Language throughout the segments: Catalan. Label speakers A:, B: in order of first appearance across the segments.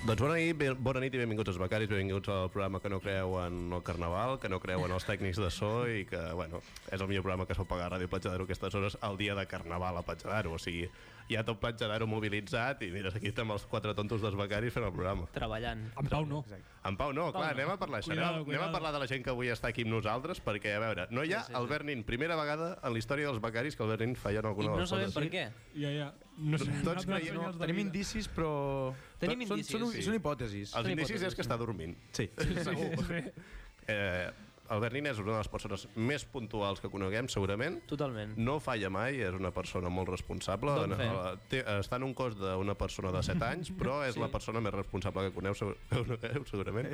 A: Doncs bona nit, ben- bona nit i benvinguts als becaris, benvinguts al programa que no creu en el carnaval, que no creu en els tècnics de so i que, bueno, és el millor programa que es pot pagar a Ràdio Platja d'Aro aquestes hores el dia de carnaval a Platja d'Aro. O sigui, hi ha tot Platja d'Aro mobilitzat i mires, aquí estem els quatre tontos dels becaris fent el programa.
B: treballant.
C: En Pau no.
A: En Pau, no, clar, anem a parlar això.
C: Cuidado,
A: Anem, anem a
C: cuidado.
A: parlar de la gent que avui està aquí amb nosaltres perquè, a veure, no hi ha Albert Nin. Primera vegada en la història dels becaris que Albert Nin falla en
B: I
A: alguna de
B: no
A: les
B: sabem
A: coses.
B: per què.
C: Ja, ja. No sé,
A: Tots
C: nosaltres
A: creiem-
C: senyors de
D: Tenim
C: vida.
D: indicis, però...
B: tota Tenim
D: són,
B: indicis.
D: Són,
B: Sí.
D: sí. són
A: Els
D: hipòtesis.
B: Són
A: indicis
B: hipòtesis,
A: és que està dormint. Sí, segur. Eh, Albert Nin és una de les persones més puntuals que coneguem, segurament.
B: Totalment.
A: No falla mai, és una persona molt responsable.
B: D'on
A: En-
B: fer?
A: eh, té- Està en un cos d'una persona de 7 anys, però és sí. la persona més responsable que coneu, segur- que conegueu, segurament.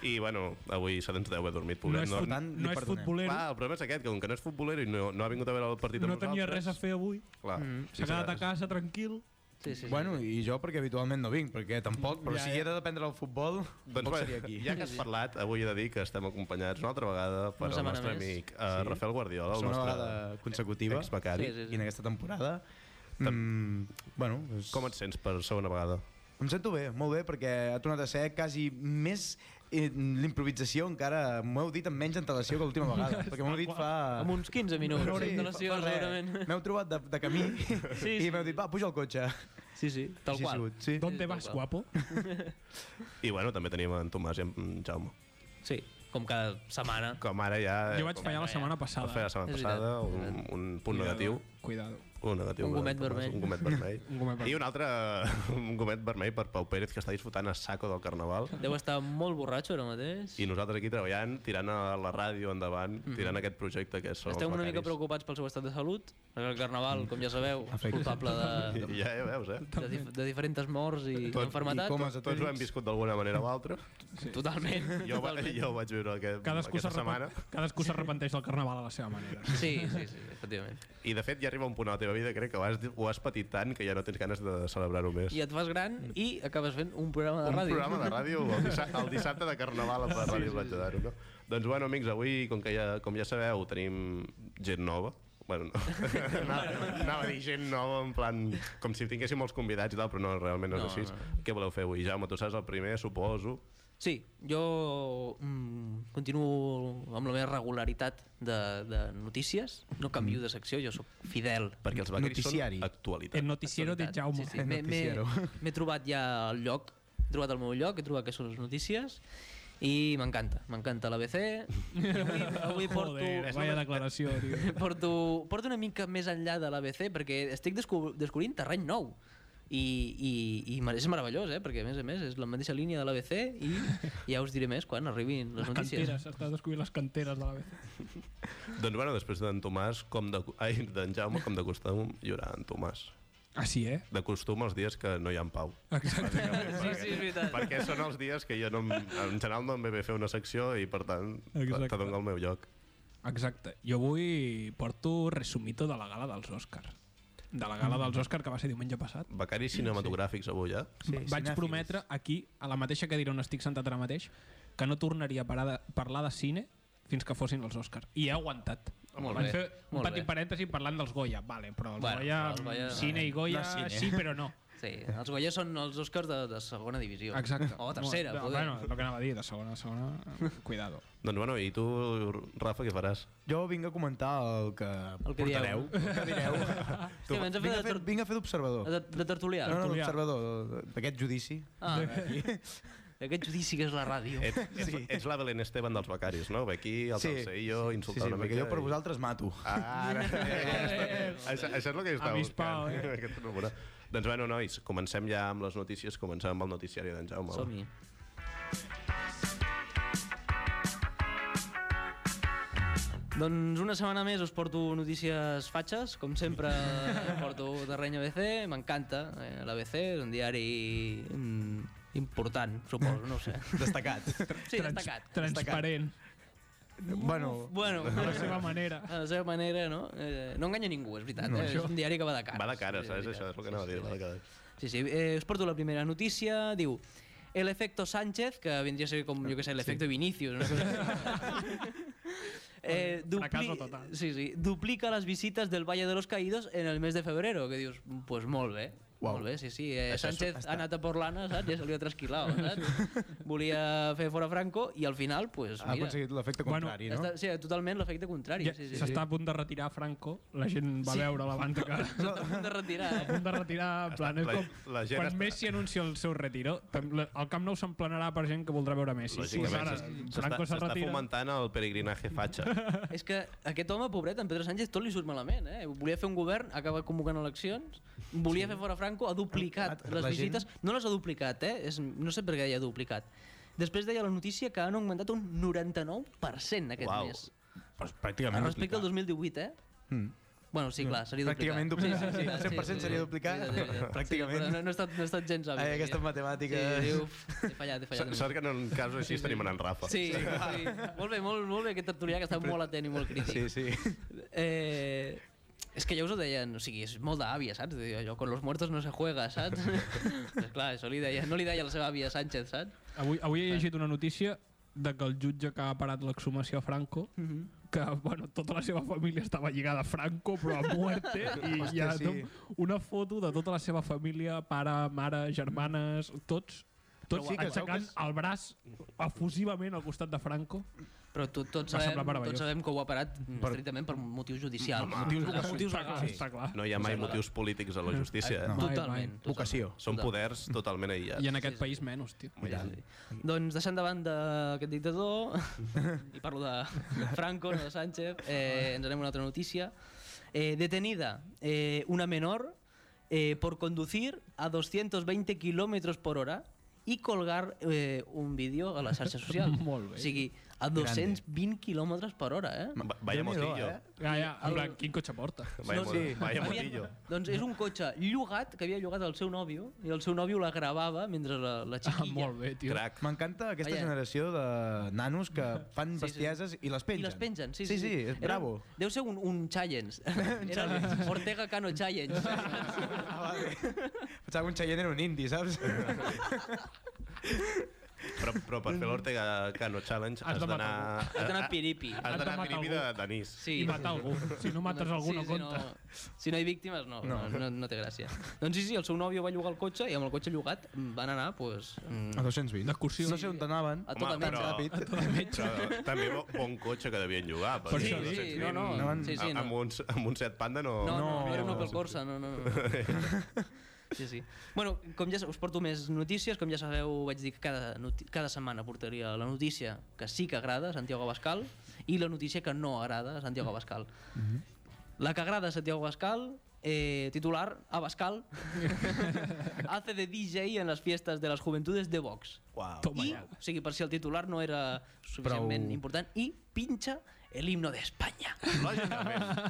A: I, bueno, avui se ens deu haver dormit,
C: No
A: pobret.
C: és, fut,
D: tant, li
C: no és
D: perdonem.
C: futbolero,
A: Clar, el problema és aquest, que com que no és futbolero i no, no ha vingut a veure el partit amb
C: no tenia
A: nosaltres...
C: res a fer avui.
A: Clar,
C: S'ha quedat a casa tranquil.
B: Sí, sí, sí.
D: Bueno, i jo perquè habitualment no vinc, perquè tampoc, però ja,
C: Ja,
D: si
C: ja.
D: he de dependre del futbol,
A: Doncs
D: doncs
A: bé,
D: tampoc seria aquí.
A: ja que has parlat, avui he de dir que estem acompanyats una altra vegada per
B: Una
A: el
B: setmana
A: nostre
B: més.
A: amic eh, Rafael Guardiola, el
D: És una
A: nostre
D: vegada consecutiva,
A: ex-becari.
B: Sí, sí, sí.
D: i en aquesta temporada... Mm, bueno, doncs,
A: Com et sents per segona vegada?
D: em sento bé, molt bé, perquè ha tornat a ser quasi més eh, l'improvisació encara, m'ho heu dit amb menys antelació que l'última vegada, perquè m'ho heu dit fa...
B: Amb uns 15 minuts
D: Sí,
B: sí, de la
D: fa-
B: seva,
D: fa res.
B: segurament.
D: M'heu trobat de, de camí
B: Sí,
D: i
B: sí.
D: m'heu dit, va, puja al cotxe.
B: Sí, sí, tal
D: Així ha
B: qual.
D: sigut, sí.
C: D'on te
B: tal
C: vas,
B: qual.
C: guapo?
A: I bueno, també tenim en Tomàs i en Jaume.
B: Sí, com cada setmana.
A: Eh, Com ara ja...
C: Jo vaig fallar la setmana
A: Va fer la
C: passada.
A: setmana
B: És
A: passada
B: veritat,
A: un,
B: és
A: un punt negatiu.
C: Cuidado.
A: Un negatiu.
B: Un
A: per
B: gomet
A: en Tomàs,
B: vermell.
A: Un gomet vermell.
C: Un gomet vermell.
A: I un altre un gomet vermell per Pau Pérez, que està disfrutant a saco del carnaval.
B: Deu estar molt borratxo ara mateix.
A: I nosaltres aquí treballant, tirant a la ràdio endavant, tirant aquest projecte que són
B: Estem
A: els
B: Mhm. una mica
A: becaris.
B: preocupats pel seu estat de salut, perquè el carnaval, com ja sabeu, és
D: Afecta.
B: culpable de,
A: Ja, ja veus, eh?
B: de, dif de diferents morts i
A: Tot-
B: enfermetats.
D: i com es-
A: Tots ho hem viscut d'alguna manera o altra.
B: Totalment.
A: Jo, va,
B: totalment.
A: jo ho vaig viure aquest,
C: Cadascú
A: aquesta setmana.
C: s'arrepenteix cadascú s'arrepenteix del carnaval a la seva manera.
B: Sí, sí, sí, efectivament.
A: I, de fet, ja arriba un punt a la teva vida, crec que ho has, ho has patit tant que ja no tens ganes de celebrar-ho més.
B: I et fas gran i acabes fent un programa de
A: un
B: ràdio.
A: programa de ràdio el, dissabte, el dissabte de Carnaval a la Ràdio Platja d'Aro, no? Doncs bueno, amics, avui, com, que ja, com ja sabeu, tenim gent nova. Bueno, no. anava, anava a dir gent nova, en plan, com si tinguéssim els convidats i tal, però no, realment no,
B: No,
A: és així.
B: no,
A: Què voleu fer avui? Jaume, tu saps el primer, suposo.
B: Sí, jo mm, continuo amb la meva regularitat de, de notícies. No canvio de secció, jo sóc fidel.
A: Mm. Perquè els becaris
D: Noticiari.
A: són
B: Eh,
C: El
A: actualitat.
C: noticiero de Jaume. eh,
B: Sí, sí. m'he-
D: noticiero.
B: m'he- M'he trobat ja el lloc, he trobat el meu lloc, he trobat que són les notícies i m'encanta, m'encanta l'ABC. Avui, avui
C: Joder,
B: porto,
C: vaya declaració, tio.
B: porto, porto una mica més enllà de l'ABC perquè estic descobr descobrint terreny nou. I, i, i és meravellós, eh? perquè a més a més és la mateixa línia de l'ABC i ja us diré més quan arribin les
C: Les
B: notícies.
C: canteres, estàs descobrint les canteres de la vez.
A: Doncs bueno, després d'en Tomàs, com de, ai, d'en Jaume, com de costum, hi haurà en Tomàs.
C: Ah, sí, eh?
A: De costum els dies que no hi ha en Pau.
C: Exacte.
B: Sí, sí, és veritat.
A: perquè són els dies que jo no, em- en general no em ve bé fer una secció i per tant
C: Exacte.
A: te dono el meu lloc
C: Exacte. Jo avui porto resumito de la gala dels Oscars. De la gala dels Oscars que va ser diumenge passat.
A: becaris cinematogràfics avui, eh?
C: Sí, Vaig
D: cinèfils.
C: prometre aquí, a la mateixa cadira on estic sentat ara mateix, que no tornaria a parar de, parlar de cine fins que fossin els Oscars. I he aguantat.
B: Molt
C: Vaig
B: bé,
C: fer un
B: molt
C: petit
B: bé.
C: parèntesi parlant dels Goya, vale, però els
B: Bueno,
C: bueno,
B: però
C: Goya,
B: els Goya-
C: cine i Goya,
D: No és cine.
C: sí però no.
B: Sí, els Goya són els Oscars de, de segona divisió.
C: Exacte.
B: O Oh, tercera,
C: Bueno,
B: poder.
C: Bueno, el que anava a dir, de segona a segona, cuidado.
A: Doncs bueno, i tu, Rafa, què faràs?
D: Jo vinc a comentar el que,
B: El que dieu.
D: El que direu.
B: Tu, sí, ens ha
D: vinc, a
B: fet de,
D: fer,
B: tor-
D: vinc a fer d'observador.
B: de, de tertulià.
D: No, no,
C: Tertulià.
D: d'observador, d'aquest judici.
B: Ah, aquest judici que és la ràdio.
A: Et, ets, sí. ets la Belén Esteban dels becaris, no? Ve aquí, al sí. Salseillo,
D: sí,
A: insultar
D: sí,
A: una
D: perquè
A: mica. Ah,
D: jo per vosaltres mato.
A: Ara,
C: eh,
A: això, això és el que jo estava
C: Avispao,
A: buscant. Aquesta normura. doncs bueno, nois, comencem ja amb les notícies, comencem amb el noticiari d'en Jaume. va.
B: Som-hi. Doncs una setmana més us porto notícies fatxes, com sempre porto terreny ABC, m'encanta eh, l'ABC, és un diari mm, important, suposo, no ho sé.
D: Destacat.
B: Sí, destacat.
C: Transparent,
D: bueno,
B: Bueno,
C: de la seva manera.
B: A la seva manera, no? Eh, no enganya ningú, és veritat. No, eh? És un diari que va de cara.
A: Va de cara, saps? Això és el que anava a dir, va de cara.
B: Sí, sí. Eh, us porto la primera notícia. Diu... El efecto Sánchez, que vendria a ser com, jo què sé, l'efecte sí. Vinicius. Una cosa eh,
C: Fracaso total.
B: Sí, sí. Duplica les visites del Valle de los Caídos en el mes de febrero, que dius, pues molt bé.
D: Uau.
B: Molt bé, sí, sí. Eh,
A: Això és-
B: Sánchez ha anat a Porlana, saps? Ja se li ha trasquilat, saps? Volia fer fora Franco i al final, pues,
D: Ha
B: mira...
D: aconseguit l'efecte
C: Bueno,
D: contrari,
B: Està,
D: no?
B: sí, totalment l'efecte contrari.
C: Ja
B: Ja, sí, sí, sí.
C: S'està a punt de retirar Franco, la gent va
B: Sí.
C: veure la banda que...
B: S'està a punt de retirar.
C: a punt de retirar, en plan, és
A: la-
C: com...
A: la gent
C: quan
A: està-
C: Messi anuncia el seu retiro, tam- la- el Camp Nou s'emplenarà per gent que voldrà veure Messi. Pues
A: Lògicament,
C: ara,
A: s'està- s'està
C: Franco se
A: s'està
C: retira...
A: fomentant el peregrinaje fatxa.
B: És que aquest home, pobret, en Pedro Sánchez, tot li surt malament. Eh? Volia fer un govern, acaba convocant eleccions, volia sí. fer fora Franco, ha duplicat
D: La-
B: les
D: la gent-
B: visites. No les ha duplicat, eh? És, no sé per què hi ha duplicat. Després deia la notícia que han augmentat un 99% aquest
A: Uau.
B: mes.
D: Pues pràcticament
B: Respecte al 2018, eh?
D: Mm.
B: Bueno, sí, clar, seria duplicat.
D: Pràcticament duplicat, sí, el 100% seria
B: sí,
D: duplicat,
B: sí, sí, sí.
D: pràcticament.
B: Sí, però no, no, he estat, no he estat gens hàbil.
D: Ai,
B: aquí,
D: aquestes
B: eh?
D: matemàtiques.
B: Sí, uf, he fallat, he fallat.
A: S- Sort que en un casos així tenim en Rafa.
B: Sí, sí, sí. Molt bé, molt, molt bé aquest tertulià que està molt atent i molt crític.
D: Sí, sí.
B: Eh, és que ja us ho deien, o sigui, és molt d'àvia, saps? De dir, allò, con los muertos no se juega, saps? pues clar, això li deia, no li deia la seva àvia Sánchez, saps?
C: Avui, avui he llegit una notícia de que el jutge que ha parat l'exhumació a Franco que bueno, tota la seva família estava lligada a Franco, però a muerte, i
D: Hòstia,
C: hi ha
D: sí.
C: sí. una foto de tota la seva família, pare, mare, germanes, tots,
D: Però
C: tots
D: sí
C: sí,
D: que es veu que
C: aixecant
D: és-
C: el braç efusivament al costat de Franco.
B: Però tot, tots,
C: Va semblar
B: sabem,
C: meravellós.
B: tots sabem que ho ha parat mm, estrictament per motius judicials. motius, motius
C: està, clar,
B: legals.
C: està clar.
A: No hi ha mai motius polítics a la justícia. eh?
D: No.
C: Mai,
B: Totalment.
C: mai.
B: totalment.
D: Vocació.
A: Són
B: Totalment.
A: poders totalment
C: I en
A: aïllats.
C: aquest sí, país menys, tio.
B: Sí, sí. Doncs deixant de banda aquest dictador, i parlo de Franco, no de Sánchez, eh, ens anem a una altra notícia. Eh, detenida eh, una menor eh, por conducir a 220 kilómetros por hora i colgar eh, un vídeo a la xarxa social.
C: Molt bé.
B: O sigui, a 220 kilómetres per hora, eh?
A: Va- Vaya
D: Déu-n'hi-do,
A: motillo.
D: eh?
C: Ja, ja, en plan, quin cotxe porta?
A: Vaya,
B: No,
A: mo-
D: sí.
A: vaya
B: Havia-
A: motillo.
B: Doncs és un cotxe llogat, que havia llogat el seu nòvio, i el seu nòvio la gravava mentre la, la
C: Ah,
B: xiquilla...
C: molt bé, tio.
A: Crac.
D: M'encanta aquesta
B: Vaja.
D: generació de nanos que fan
B: Sí, sí.
D: bestieses i les pengen.
B: I les pengen, sí, sí.
D: Sí, sí, és
B: Era-
D: bravo.
B: Deu ser un, un challenge. Era el Ortega Cano challenge.
D: Ah, vale. Pensava que un Cheyenne era un indi, saps?
A: Però, però per fer l'Ortega Cano Challenge
C: Has
A: has
C: de
A: d'anar...
C: matar
B: Has d'anar piripi.
A: Has
C: Has de
A: d'anar
C: matar
A: primi de
C: algú.
A: Danís.
B: Sí.
C: I matar algú. Si no mates algú, no compta.
B: Si no, si no hi víctimes, no, no. no, no té gràcia. doncs sí, sí, el seu nòvio va llogar el cotxe i amb el cotxe llogat van anar, doncs...
D: A 220.
C: D'excursió.
D: No sé on anaven.
B: A tota menys ràpid.
A: Però, també bo- bon cotxe que devien llogar.
C: Per
A: perquè
C: això
B: Sí, sí,
A: 220,
B: no, no.
D: Anaven
B: Sí, sí,
A: amb- Amb
B: no.
A: un, amb un set panda no...
B: No, no,
D: No.
B: no, era un Opel Corsa, no, no, no. Sí, sí. Bueno, com ja us porto més notícies, com ja sabeu, vaig dir que cada, noti- cada setmana portaria la notícia que sí que agrada a Santiago Abascal i la notícia que no agrada a Santiago Abascal.
C: Mm-hmm.
B: La que agrada a Santiago Abascal, eh, titular, Abascal, hace de DJ en las fiestas de las juventudes de Vox.
A: Uau.
C: Toma
B: I,
C: ja.
B: o sigui, per si el titular no era suficientment
D: Prou.
B: important, i pinxa el himno d'Espanya.
A: Lògicament.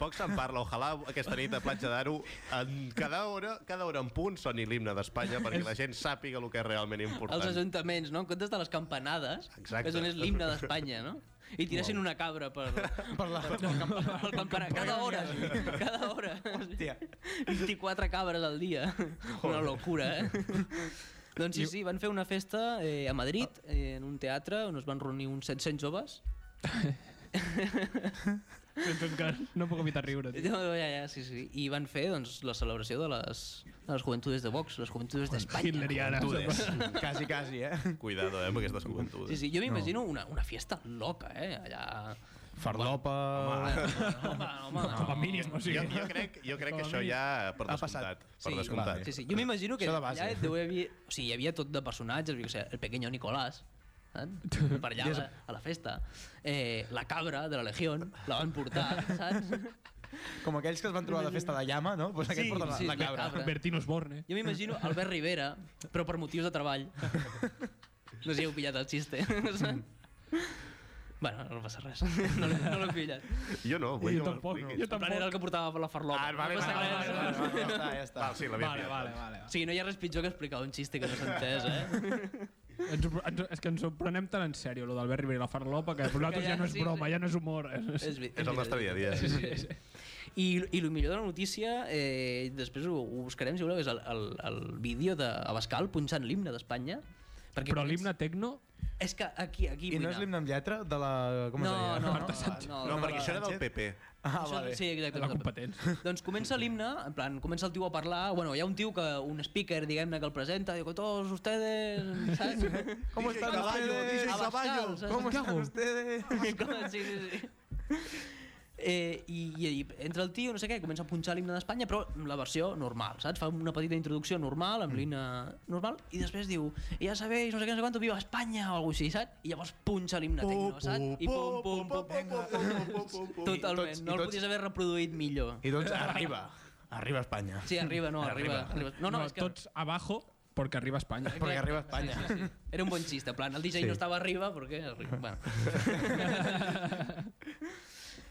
A: Poc se'n parla. Ojalà aquesta nit a Platja d'Aro, en cada hora, cada hora en punt, soni l'himne d'Espanya perquè la gent sàpiga el que és realment important.
B: als ajuntaments, no? En comptes de les campanades,
A: Exacte.
B: és on és l'himne d'Espanya, no? I tiressin una cabra per... per la... Per, campanar. per campanar. Cada hora, cada hora.
D: Hòstia.
B: 24 cabres al dia. Una locura, eh? doncs sí, sí, van fer una festa eh, a Madrid, eh, en un teatre, on es van reunir uns 700 joves.
C: Sento encara- No puc evitar riure, tio.
B: Ja, ja, ja, sí, sí. I van fer doncs, la celebració de les, de les joventudes de Vox, les joventudes d'Espanya.
C: Hitleriana.
D: Quasi, quasi, eh?
A: Cuidado, eh, amb aquestes joventudes.
B: Sí, sí, jo m'imagino una, una fiesta loca, eh? Allà...
D: Farlopa...
B: Home, home, no.
C: Com a mínim, o
A: Jo,
C: sigui.
A: jo crec, jo crec
C: Com
A: que
C: a
A: això
C: mínim.
A: ja, per
D: Ha
A: descomptat,
D: passat.
A: per
B: Sí,
A: descomptat.
B: Ah, Sí, sí. Jo m'imagino que
D: Això de
B: allà
D: base.
B: deu haver... O sigui, hi havia tot de personatges, jo què sé, el pequeño Nicolás, saps? per allà a la, a la festa. Eh, la cabra de la Legió, la van portar, saps?
D: Com aquells que es van trobar a la festa de llama, no? Pues aquest
B: Sí,
D: porta la,
B: sí,
D: la
B: la
D: cabra.
B: cabra.
C: Bertino eh? Osborne.
B: Jo m'imagino Albert Rivera, però per motius de treball. No sé si heu pillat el xiste. saps? Bueno, no passa res, no, l'he- no l'he pillat.
A: Jo no, vull que
C: Jo
A: me'l
C: tampoc,
A: expliquis.
C: jo
B: En plan, era el
C: tampoc.
B: que portava la farlopa.
A: Ah, vale,
B: no passa
A: vale, vale,
B: res.
A: vale,
D: Ja està, ja està.
A: Val, sí, l'havia
C: Vale,
A: pillat.
C: vale, vale.
B: O sigui, no hi ha res pitjor que explicar un xiste que no s'ha entès, eh?
C: Ens, ho- ens, ho- és que ens ho prenem tan en sèrio, lo d'Albert Rivera i la farlopa, que per nosaltres
B: Que ja,
C: ja no és
B: sí,
C: broma,
B: sí.
C: ja no és humor. És,
B: vi-
A: És el nostre dia a dia.
B: Sí, sí, sí. I, I el millor de la notícia, eh, després ho, ho buscarem, si voleu, és el, el, el vídeo d'Abascal punxant l'himne d'Espanya. perquè
C: Però
B: quan ets-
C: l'himne tecno...
B: És que aquí, aquí
D: I
B: vull
D: no és
B: anar.
D: l'himne amb lletra de la... Com
B: no,
D: es deia?
B: no, no,
C: Marta Sánchez.
B: no,
A: No, perquè això era del PP.
D: Ah,
B: Això-
D: vale.
B: Sí, exacte.
C: La competència.
B: Doncs comença l'himne, en plan, comença el tio a parlar, bueno, hi ha un tio que, un speaker, diguem-ne, que el presenta, diu, todos ustedes, saps?
D: ¿Cómo están
A: Caballo,
D: ustedes?
A: DJ Caballo.
B: saps?
D: ¿Cómo
B: Què
D: están
B: hago?
D: ustedes?
B: Com- sí, sí, sí. Eh, i, i, i entra el tio, no sé què, comença a punxar l'himne d'Espanya, però la versió normal, saps? Fa una petita introducció normal, amb l'himne normal, i després diu, ja sabeu, no sé què, no sé quant, viva Espanya, o alguna cosa així, saps? I llavors punxa l'himne tecno, saps? I pum, pum, pum, pum, pum,
D: I tots-
B: Totalment,
D: i
B: no el
D: tots-
B: podies haver reproduït millor.
D: I doncs arriba. Arriba a Espanya.
B: Sí, arriba, no, arriba. arriba. No, no, és que...
C: tots abajo perquè arriba a Espanya.
D: Perquè arriba a Espanya.
B: Sí, sí. Era un bon xiste, en plan, el DJ
D: Sí.
B: sí. no estava arriba perquè... arriba. Bueno.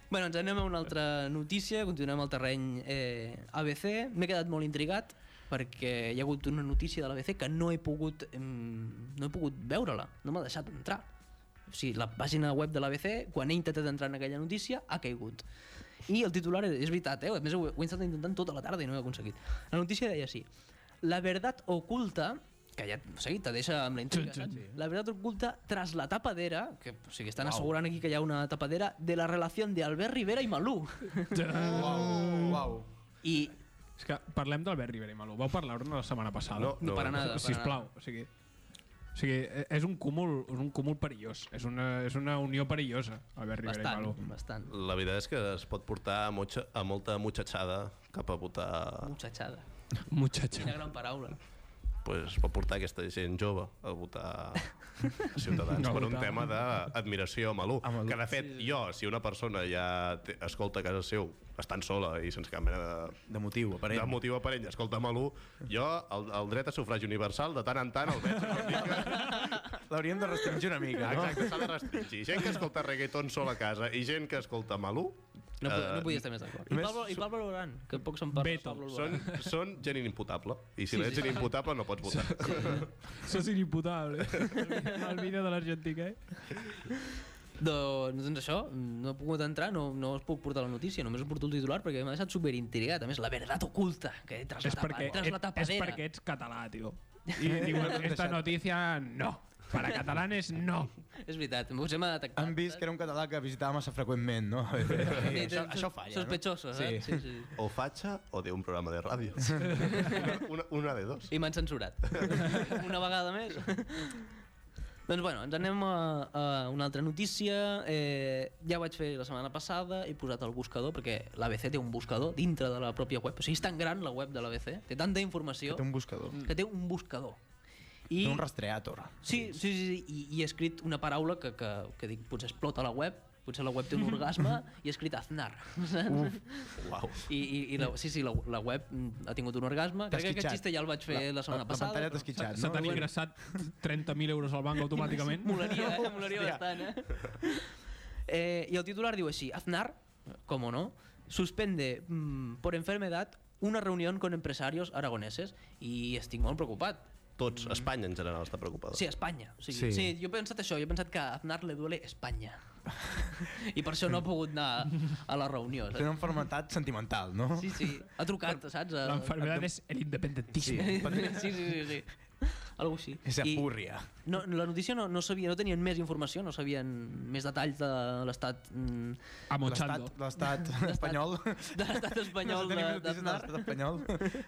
B: bueno, ens anem a una altra notícia, continuem al terreny eh, ABC. M'he quedat molt intrigat perquè hi ha hagut una notícia de l'ABC que no he pogut, mm, no he pogut veure-la, no m'ha deixat entrar. O sigui, la pàgina web de l'ABC, quan he intentat entrar en aquella notícia, ha caigut. I el titular, és veritat, eh? a més ho he ho he estat intentant tota la tarda i no ho he aconseguit. La notícia deia així, la verdad oculta, que ja o sigui, te deixa amb la intriga,
C: Sí, sí,
B: saps?
C: sí.
B: la verdad oculta tras la tapadera, que o sigui, estan assegurant aquí que hi ha una tapadera, de la relació de Albert Rivera i Malú.
D: Uau, uau.
B: I
C: És que parlem d'Albert Rivera i Malú. Vau parlar-ne la setmana passada.
A: No,
B: no, para nada. para nada.
C: Sisplau, o sigui... O sigui, eh, és un cúmul, és un cúmul perillós. És una, és una unió perillosa, Albert Rivera i
B: Bastant,
C: Malú.
B: bastant.
A: La veritat és que es pot portar a, motxa, a molta mutxatxada cap a votar...
B: Ah. Muchachada.
C: Muchacho.
B: Quina gran paraula.
A: Pues es pot portar aquesta gent jove a votar a Ciutadans
C: A
A: per un
C: votar.
A: tema d'admiració a Malú.
C: A Malú.
A: Que, de fet, jo, si una persona ja té, escolta a casa seu, estant sola i sense cap mena de,
D: De motiu, aparent.
A: de motiu aparent, i escolta Malú, jo, el, el dret a sufragi universal, de tant en tant el veig. Vull dir que-
D: L'hauríem de restringir una mica, no?
A: Exacte, s'ha de restringir. Gent que escolta reggaeton sola a casa i gent que escolta Malú,
B: No,
A: Eh,
B: uh, no podia estar més d'acord. I,
D: només
B: Pablo, I Pablo Loran, que poc se'n parla. de
C: Beto.
B: Pablo
A: són,
B: Lorán.
A: són gent inimputable. I si
B: Sí,
A: no ets
B: sí.
A: inimputable no pots votar.
C: Això és inimputable. El vídeo de l'Argentina, eh?
B: Doncs, doncs això, no he pogut entrar, no, no us puc portar la notícia, només us porto el titular perquè m'ha deixat superintrigat. A més, la verdad oculta, que tras la,
C: És
B: tapa,
C: perquè,
B: tras la
C: et, és
B: tapadera.
C: perquè ets català, tio. I diuen,
D: t'han
C: esta
D: deixat."
C: notícia no. Para catalanes, no.
B: És veritat, us hem detectat.
D: Han vist que era un català que visitava massa freqüentment, no?
B: Sí,
D: això,
B: sos-
D: això falla,
B: Sospechoso,
D: no?
B: eh? Sí, sí.
A: O fatxa o d'un programa de ràdio. Una, una, una de dos.
B: I m'han censurat. una vegada més. doncs bueno, ens anem a, a una altra notícia. Eh, ja ho vaig fer la setmana passada, he posat el buscador, perquè l'ABC té un buscador dintre de la pròpia web. O sigui, és tan gran la web de l'ABC, té tanta informació
D: Té un buscador.
B: que té un buscador.
D: Té
B: I,
D: un rastreator.
B: sí, sí, sí, sí, i, i he escrit una paraula que, que, que dic, potser explota la web, potser la web té un orgasme, i he escrit Aznar. Uf,
A: Uau.
B: I, i, i la, sí, sí, la, la web mm, ha tingut un orgasme.
D: T'has
B: Crec que aquest
D: quitxat.
B: xiste ja el vaig fer la, la setmana
D: La
B: passada.
D: pantalla
B: però-
D: t'ha esquitxat,
C: Se
D: no?
C: t'han ingressat 30.000 euros al banc automàticament.
B: Molaria, eh? Molaria
D: Hòstia.
B: bastant, eh? eh? I el titular diu així, Aznar, com o no, suspende mm, por enfermedad una reunión con empresarios aragoneses i estic molt preocupat.
A: Tots, Espanya en general està preocupada.
B: Sí, Espanya. O sigui,
D: Sí.
B: sí. sí. jo he pensat això, jo he pensat que a Aznar le duele Espanya. I per això no ha pogut anar a la reunió.
D: Té
B: Saps?
D: una enfermetat sentimental, no?
B: Sí, sí, ha trucat, saps? A...
C: L'enfermedad és el
D: Sí.
C: independentisme.
B: Sí, sí, sí, sí. Algo així.
D: És
B: I-
D: apúrria.
B: No, la notícia no, no, sabia, no tenien més informació, no sabien més detalls de l'estat mm,
C: Amochando.
D: L'estat- L'estat espanyol.
B: de l'estat espanyol
D: No
B: de-
D: tenim notícies de
B: d'Aznar
D: l'estat espanyol.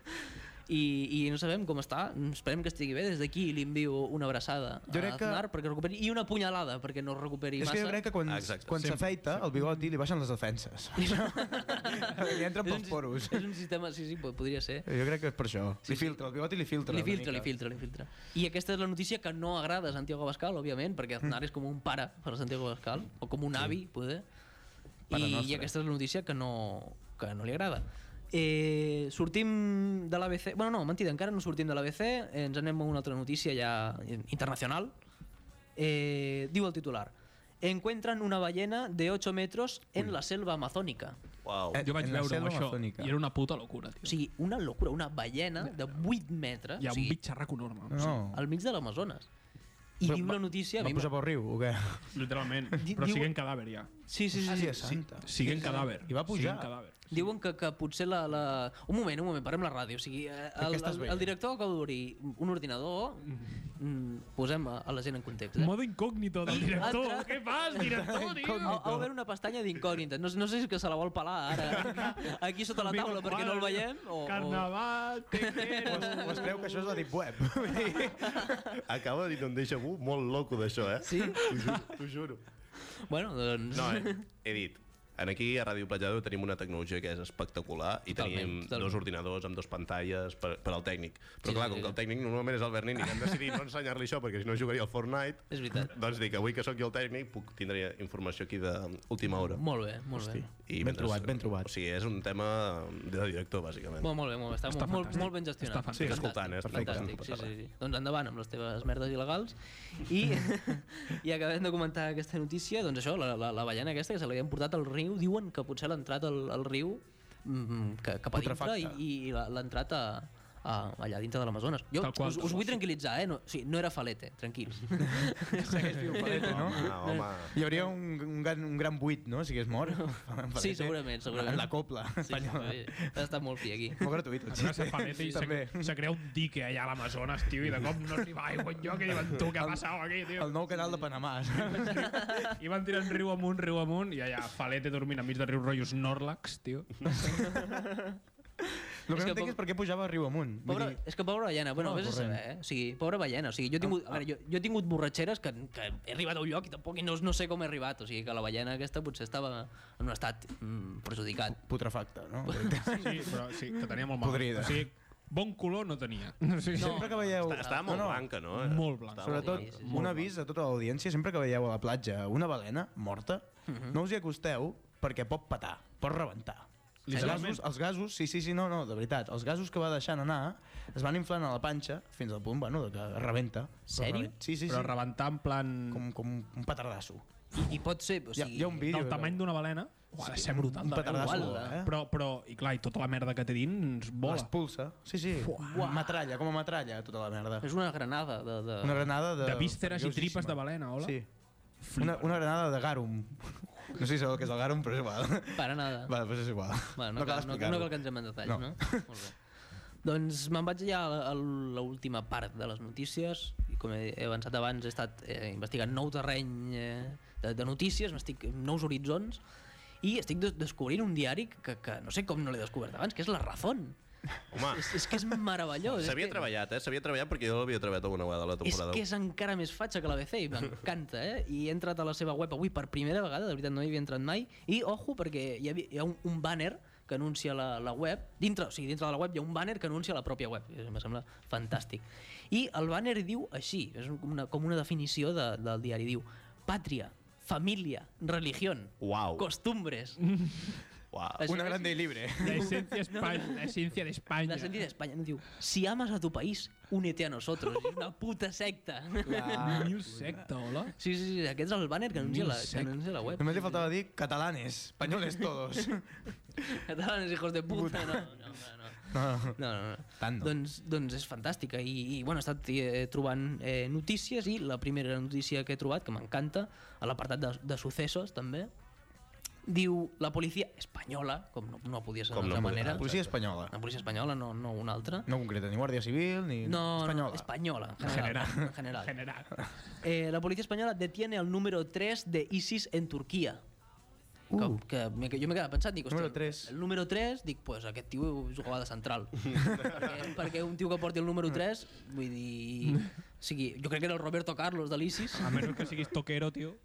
B: i, i no sabem com està. Mm, Esperem que estigui bé. Des d'aquí li envio una abraçada
D: Jo
B: a
D: crec que-
B: Aznar perquè recuperi, i una punyalada perquè no es recuperi
D: És
B: massa.
D: que jo crec que quan,
A: Ah, exacte,
D: quan
A: sempre,
D: s'afeita el bigoti li baixen les defenses. li
B: És un
D: entren pels
B: sis-
D: poros.
B: És un sistema, sí, sí, po- podria ser.
D: Jo crec que és per això.
B: Sí,
D: Li
B: sí.
D: filtra, el bigoti li filtra.
B: Li
D: una
B: filtra, li
D: mica.
B: filtra, li filtra. I aquesta és la notícia que no agrada a Santiago Abascal, òbviament,
D: Mm.
B: perquè Aznar és com un pare per a Santiago Abascal, o com un avi, poder.
D: Pare
B: I, I
D: nostre.
B: aquesta és la notícia que no, que no li agrada. Eh, sortim de l'ABC... Bueno, no, mentida, encara no sortim de l'ABC, eh, ens anem a una altra notícia ja eh, internacional. Eh, diu el titular, Encuentran una ballena de 8 metros en la selva amazónica.
A: Uau.
D: Eh,
C: Jo vaig
D: En la
C: veure
D: selva
C: això
D: amazònica.
C: i era una puta locura, tio.
B: O sigui, una locura, una ballena de 8 metres.
C: Hi ha
B: o
C: un
B: sigui,
C: bitxarrac enorme.
D: No.
B: al mig de l'Amazones. I
D: Oh. Però
B: diu
D: va-
B: la notícia... a
D: Va
B: mi
D: posar pel riu, o què? Ah,
C: Literalment.
B: Di-
C: Però
B: diu-
C: siguen cadàver, ja.
B: Sí, sí, sí. sí.
D: santa.
C: Siguen cadàver.
D: I va pujar.
C: Siguen cadàver.
B: Diuen que, que potser la, la... Un moment, un moment, parem la ràdio. O sigui, eh, el,
D: estàs
B: el,
D: bé.
B: el director que obri un ordinador, mm, posem a, a la gent en context. Eh?
C: Modo incògnito del director.
B: Altre-
C: Què fas, director, tio?
B: Ha, ha obert una pestanya d'incògnita. No, no sé si és que se la vol pelar ara, eh? aquí sota la taula, perquè no el veiem. O, o...
C: Carnaval, te
D: O es, o
C: quiero.
D: es creu que això és la Deep Web. Vull dir,
A: Acaba de dir un déjà vu molt loco d'això, eh?
B: Sí?
A: T'ho juro, t'ho juro.
B: Bueno, doncs...
A: No, eh? he dit. En aquí a Ràdio Platjador tenim una tecnologia que és espectacular i
B: Totalment,
A: tenim
B: totalment.
A: dos ordinadors amb dos pantalles per, per al tècnic. Però
B: Sí,
A: clar,
B: sí,
A: com
B: sí.
A: que el tècnic normalment és el Bernin i que hem decidit no ensenyar-li això perquè si no jugaria al Fortnite,
B: És veritat.
A: doncs dic, avui que sóc jo el tècnic puc tindré informació aquí d'última hora.
B: Molt bé, molt Hosti. bé.
A: I
D: Ben trobat, ben trobat.
A: O sigui, és un tema de director, bàsicament.
B: Molt, molt bé, molt bé. Està, molt, molt, molt ben gestionat.
C: Està fantàstic.
A: Sí, escoltant, eh? Escoltant.
B: Fantàstic, sí, sí, sí. Doncs endavant amb les teves merdes il·legals. I, i acabem de comentar aquesta notícia. Doncs això, la, la, la ballena aquesta que se l'havien portat al riu, diuen que potser l'ha entrat al, al riu mm, que, cap a dintre i,
D: Putrefacta.
B: i l'ha l'ha entrat a, a, allà dintre de l'Amazones. Jo
C: Tal qual,
B: us,
C: tal
B: us
C: qual.
B: vull tranquil·litzar, eh? No, o sigui, no era falete, tranquils.
D: segueix viu Paleta, no?
A: Home, Ah, home.
B: Eh.
D: Hi hauria un, un, gran, un gran buit, no?, si hagués mort.
B: Sí, segurament, segurament.
D: La copla espanyola.
B: Sí, sí, sí. Està molt fi aquí.
D: Molt gratuït, el
C: Una cepaleta
D: xiste.
C: i se, se crea un dique allà a l'Amazones, tio, i de cop no arriba aigua enlloc i diuen, tu, què ha passat aquí, tio?
D: El nou canal de Panamà.
C: I van tirant riu amunt, riu amunt, i allà Falete dormint enmig de riu rotllos Norlax, tio.
D: El que
B: que
D: no entenc
B: poc-
D: és per què pujava riu amunt. Vull
B: Pobre,
D: dir,
B: és que pobra ballena, bueno,
D: No,
B: vés a
D: corrent.
B: saber, eh? O sigui, pobra ballena, o sigui, jo he tingut, a veure, jo, jo he tingut borratxeres que, que he arribat a un lloc i tampoc i no, no sé com he arribat, o sigui, que la ballena aquesta potser estava en un estat mm, perjudicat.
D: putrefacta, no?
C: Sí, però sí, que tenia molt mal.
D: Podrida.
C: O sigui, bon color no tenia. No, sí, sí.
D: Sempre que veieu...
A: Està, està molt blanca, no? Eh?
C: Molt blanca.
A: Està molt
D: Sobretot,
B: Sí, sí, sí.
D: un avís a tota l'audiència, sempre que veieu a la platja una balena morta, no us hi acosteu perquè pot petar, pot rebentar. Els
C: Literalment.
D: gasos, els gasos, sí, sí, sí, no, no, de veritat, els gasos que va deixant anar es van inflant a la panxa fins al punt, bueno, de que rebenta.
B: Sèrio?
D: Però rebe- Sí, sí, sí.
C: Però rebentar en plan...
D: com, com un petardasso.
B: I, i pot ser, o
D: Hi ha,
B: sigui...
D: hi ha un vídeo.
C: del tamany d'una balena, ho ha de ser brutal.
D: un
C: de veure.
D: petardasso,
B: Igual,
D: eh?
C: Però, però, i clar, i tota la merda que té dins vola.
D: L'expulsa. Sí, sí.
B: Fuà.
D: Metralla, com a metralla, tota la merda.
B: És una granada de... de...
D: Una granada de...
C: De vísceres i
D: perillosíssima.
C: tripes de balena, hola.
D: Sí.
C: Flipa.
D: Una, una granada de garum. No sé si sabeu què és el garum, però és igual.
B: Paranada.
D: Va, doncs és igual.
B: Bueno, no, cal, no, no cal que entrem en detalls,
D: No.
B: no? Molt bé. Doncs me'n vaig ja a la- a l'última part de les notícies. I com he he avançat abans, he estat eh, investigant nou terreny eh, de, de notícies, m'estic nous horitzons, i estic des descobrint un diari que, que no sé com no l'he descobert abans, que és La Razón.
A: Home,
B: És, és que és meravellós. és
A: Ah. s'havia
B: que-
A: treballat, eh? S'havia treballat perquè jo l'havia treballat alguna vegada a la
B: és
A: temporada.
B: que és encara més fatxa que l'ABC i m'encanta, eh? I he entrat a la seva web avui per primera vegada, de veritat no hi havia entrat mai, i ojo perquè hi, havia, hi ha un, un banner que anuncia la, la web, dintre, o sigui, dintre de la web hi ha un banner que anuncia la pròpia web, I em sembla fantàstic. I el banner diu així, és un- una, com una definició de, del diari, diu pàtria, família, religión,
A: Uau.
B: costumbres,
A: Uau.
B: Això
D: Una
B: és-
D: grande i libre.
C: La esencia, Espa- la esencia de España.
B: la sentit d'Espanya, no diu si amas a tu país, únete a nosotros, és una puta secta. Ah.
C: New Ah, secta, hola.
B: Sí, sí, sí, aquest és el banner que anuncia la, que anuncia la web.
D: Només li faltava dir catalanes, españoles todos.
B: Catalanes, hijos de puta. No, no, no.
D: No,
B: No, no, no.
D: Tant no.
B: Doncs, doncs és fantàstica i, i bueno, he estat eh, trobant eh, notícies i la primera notícia que he trobat, que m'encanta, a l'apartat de, de successos també, diu la policia espanyola, com no, no podia ser
A: Com no
B: d'altra
A: podia-
B: manera,
A: ah,
D: policia espanyola.
B: la policia espanyola, no, no una altra,
D: No concreta, ni Guàrdia Civil, ni
B: no,
D: Mm. espanyola.
B: no espanyola, en
C: En
B: general.
C: general.
B: En general.
C: General.
B: Eh, la policía española detiene al número 3 de ISIS en Turquía.
D: Uh.
B: Que, que me- que jo m'he quedat pensant, dic, hòstia,
D: Número tres.
B: el número 3, dic, pues, aquest tio jugava de central. perquè, perquè un tio que porti el número 3, vull dir... O sigui, jo crec que era el Roberto Carlos de l'ISIS,
C: A menys que siguis toquero, tio.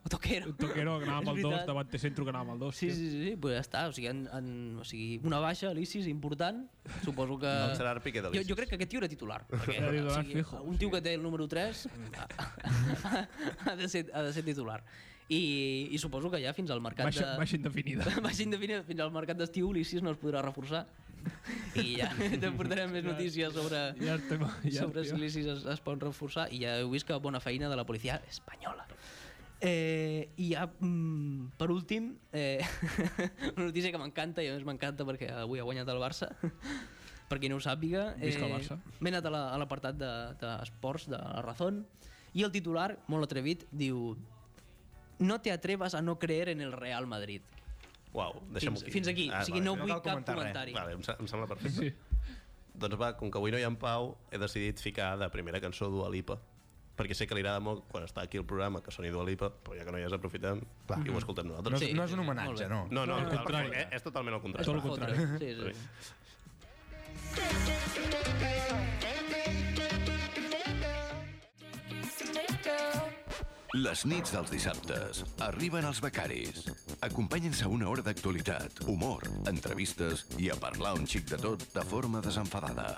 B: o Toquero.
C: Toquero que anava amb
B: És
C: el 2,
B: veritat.
C: davant de centro que anava amb el 2.
B: Sí, sí, sí, sí, pues ja està. O sigui, en, en, o sigui una baixa a l'ISIS important, suposo que...
A: No serà el pique de
B: eh, jo,
A: l'ISIS.
B: jo crec que aquest tio era titular. Perquè,
C: Era titular
B: o sigui,
C: ah, fijo,
B: un tio que té el número 3 ha de ser, ha de ser titular. I, I suposo que ja fins al mercat
C: Baixa,
B: de...
C: baixa indefinida.
B: Baixa indefinida, fins al mercat d'estiu l'ISIS no es podrà reforçar. I ja te portarem més notícies sobre...
C: Ja estem... Ja,
B: sobre si
C: tio.
B: l'ISIS es, es pot reforçar i ja heu vist que bona feina de la policia espanyola. Eh, I ja, mm, per últim, eh, una notícia que m'encanta i a més m'encanta perquè avui ha guanyat el Barça. per qui no ho sàpiga, eh,
C: Visca el Barça.
B: m'he anat a la- a l'apartat d'esports, de, esports, de la Razón, i el titular, molt atrevit, diu No te atrevas a no creer en el Real Madrid.
A: Uau, deixa'm
B: Fins, fins aquí. Ah, o sigui,
A: vale.
B: no
D: No
B: vull
D: cal
B: cap
D: comentar res.
B: comentari.
A: Vale, em, se- em sembla perfecte.
C: Sí.
A: Doncs va, com que avui no hi ha en Pau, he decidit ficar de primera cançó Dua Lipa perquè sé que li agrada molt quan està aquí el programa que soni Dua Lipa, però ja que no hi és aprofitem Clar. i ho escoltem
D: No,
A: nosaltres.
D: sí,
B: Sí,
D: no és un
B: sí, sí,
D: homenatge, no.
A: No, no,
C: Tot
A: al
C: el
A: contrari. eh?
C: contrari.
A: És, és totalment el contrari.
B: És per
C: el contrari.
B: fotre. Sí, sí, sí.
E: Les nits dels dissabtes arriben els becaris. Acompanyen-se a una hora d'actualitat, humor, entrevistes i a parlar un xic de tot de forma desenfadada.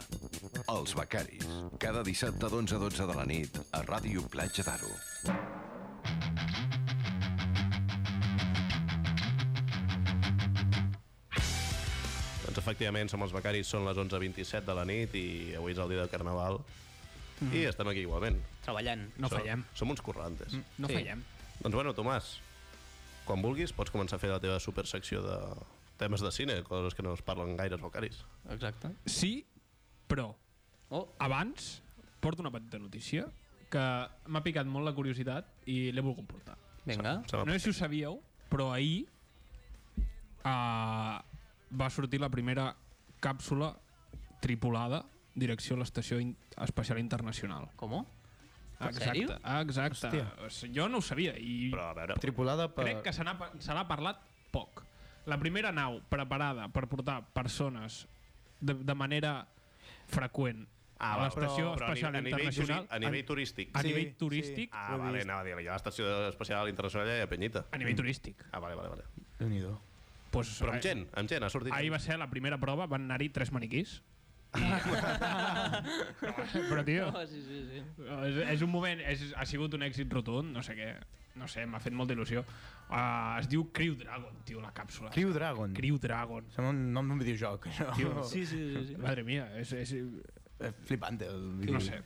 E: Els becaris. Cada dissabte d'11 a 12 de la nit a Ràdio Platja d'Aro.
A: Doncs efectivament, som els becaris, són les 11.27 de la nit i avui és el dia del Carnaval
C: Mm-hmm.
A: mm. i estem aquí igualment.
B: Treballant.
C: No
A: Som-
C: fallem.
A: Som uns currantes. Mm.
C: No
B: Sí.
C: fallem.
A: Doncs bueno, Tomàs, quan vulguis pots començar a fer la teva supersecció de temes de cine, coses que no es parlen gaire als becaris.
B: Exacte.
C: Sí, però
B: Oh,
C: abans porto una petita notícia que m'ha picat molt la curiositat i l'he volgut portar.
B: vinga.
A: Sembla
C: No sé si ho sabíeu, però ahir uh, va sortir la primera càpsula tripulada direcció a l'Estació In- Espacial Internacional.
B: Com? Ah, En
C: Exacte,
B: sèrio?
C: Ah, exacte. Hòstia. Jo no ho sabia i
A: Però a veure,
D: Tripulada per...
C: Crec que se n'ha pa- se n'ha parlat poc. La primera nau preparada per portar persones de, de manera freqüent
A: Ah,
C: ah, a
A: va, però
C: l'estació
A: a
C: espacial
A: nivell- a nivell
C: internacional,
A: turi- a nivell turístic.
C: a
D: Sí,
C: nivell
D: sí.
C: turístic,
A: Ah, vale, anava a dir, jo a l'estació espacial internacional ja hi ha penyita.
C: a nivell turístic.
A: Ah, vale, vale, vale.
D: Déu-n'hi-do.
C: Pues,
A: Però amb
C: eh,
A: gent, amb gent, ha sortit...
C: Ahir va ser la primera prova, van anar-hi tres maniquís. però, tio,
B: Oh, sí, sí, sí.
C: és, és un moment, és, ha sigut un èxit rotund, no sé què, no sé, m'ha fet molta il·lusió. Uh, es diu Crew Dragon, tio, la càpsula.
D: Crew Dragon.
C: Crew Dragon.
D: Sembla un nom d'un videojoc, això.
C: Tio,
B: Sí, sí, sí. sí.
C: Madre mía, és, és,
D: Eh, Flipant, el vídeo.
C: no sé.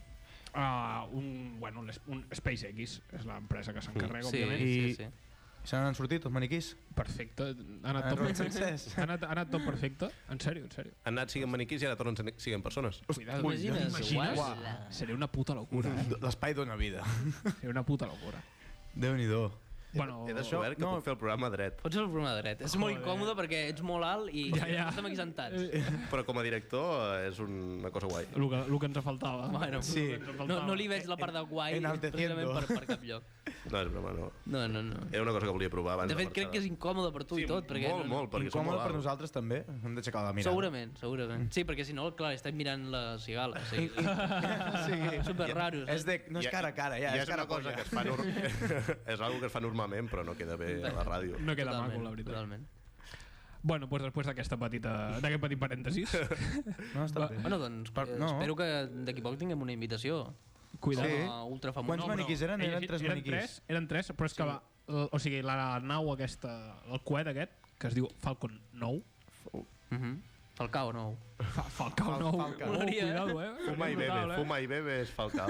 C: Uh, un, bueno, un, un SpaceX és l'empresa que s'encarrega,
B: Sí,
C: òbviament.
B: sí,
D: I-
B: sí.
D: Se n'han sortit, els maniquís?
C: Perfecte, ha anat,
D: Ah,
C: tot,
D: Robert Francesc.
C: ha, anat, ha anat tot perfecte. En sèrio, en sèrio.
A: Han anat siguin maniquís i ara tornen sent- siguin persones.
C: Cuidado. eh?
B: T'imagines?
C: T'imagines?
B: Uau.
C: Seria una puta locura. eh?
D: L'espai dona vida.
C: Seria una puta locura.
D: Déu-n'hi-do.
C: Bueno,
A: He descobert que
D: no.
A: puc fer el programa dret.
B: Pots fer el programa dret. És molt incòmode perquè ets molt alt i
C: Ja, ja.
B: estem aquí sentats.
D: Eh,
A: Però com a director eh, és una cosa guai.
C: el que, el que ens faltava.
B: Bueno,
D: Sí.
B: no, no li veig la part de guai
D: Enalteciendo.
B: precisament per, per cap lloc.
A: No, és broma, no.
B: No, no, no.
A: Era una cosa que volia provar abans.
B: De fet, crec que és incòmode per tu
A: Sí,
B: i tot. Perquè
A: molt,
B: no,
A: molt, perquè som
D: Incòmode
A: molt
D: per
A: alts.
D: nosaltres, també. Hem d'aixecar la mirada.
B: Segurament, segurament. Sí, perquè si no, clar, estem mirant la cigala. O sigui, eh?
D: sí.
B: super raro.
D: És de... No és
A: Ja-
D: cara a cara, ja.
A: ja
D: és cara
A: una
D: a
A: cosa
D: cosa.
A: que es fa nor... és algo que es fa normalment, però no queda bé a la ràdio.
C: No queda maco, la veritat.
B: Totalment.
C: Bueno, doncs després d'aquesta petita... d'aquest petit parèntesis,
D: No, està
C: Va.
D: bé.
B: Bueno, doncs,
D: Per-
B: eh,
D: no.
B: espero que d'aquí poc tinguem una invitació.
C: cuidado.
D: Sí.
B: Com a ultrafamós.
D: Quants
B: però-
D: maniquís eren?
C: He
D: Eren
C: llegit-
D: tres
C: eren
D: maniquís.
C: tres, eren tres, però és que va, l- o sigui, la nau aquesta, el coet aquest, que es diu Falcon 9,
B: Mhm. Falcao, no.
C: Fa, Falcao
D: Fal-
C: 9,
D: Falcao.
B: Molaria, eh?
C: cuidado, eh?
A: Fuma i bebe, fuma i bebe és Falcao.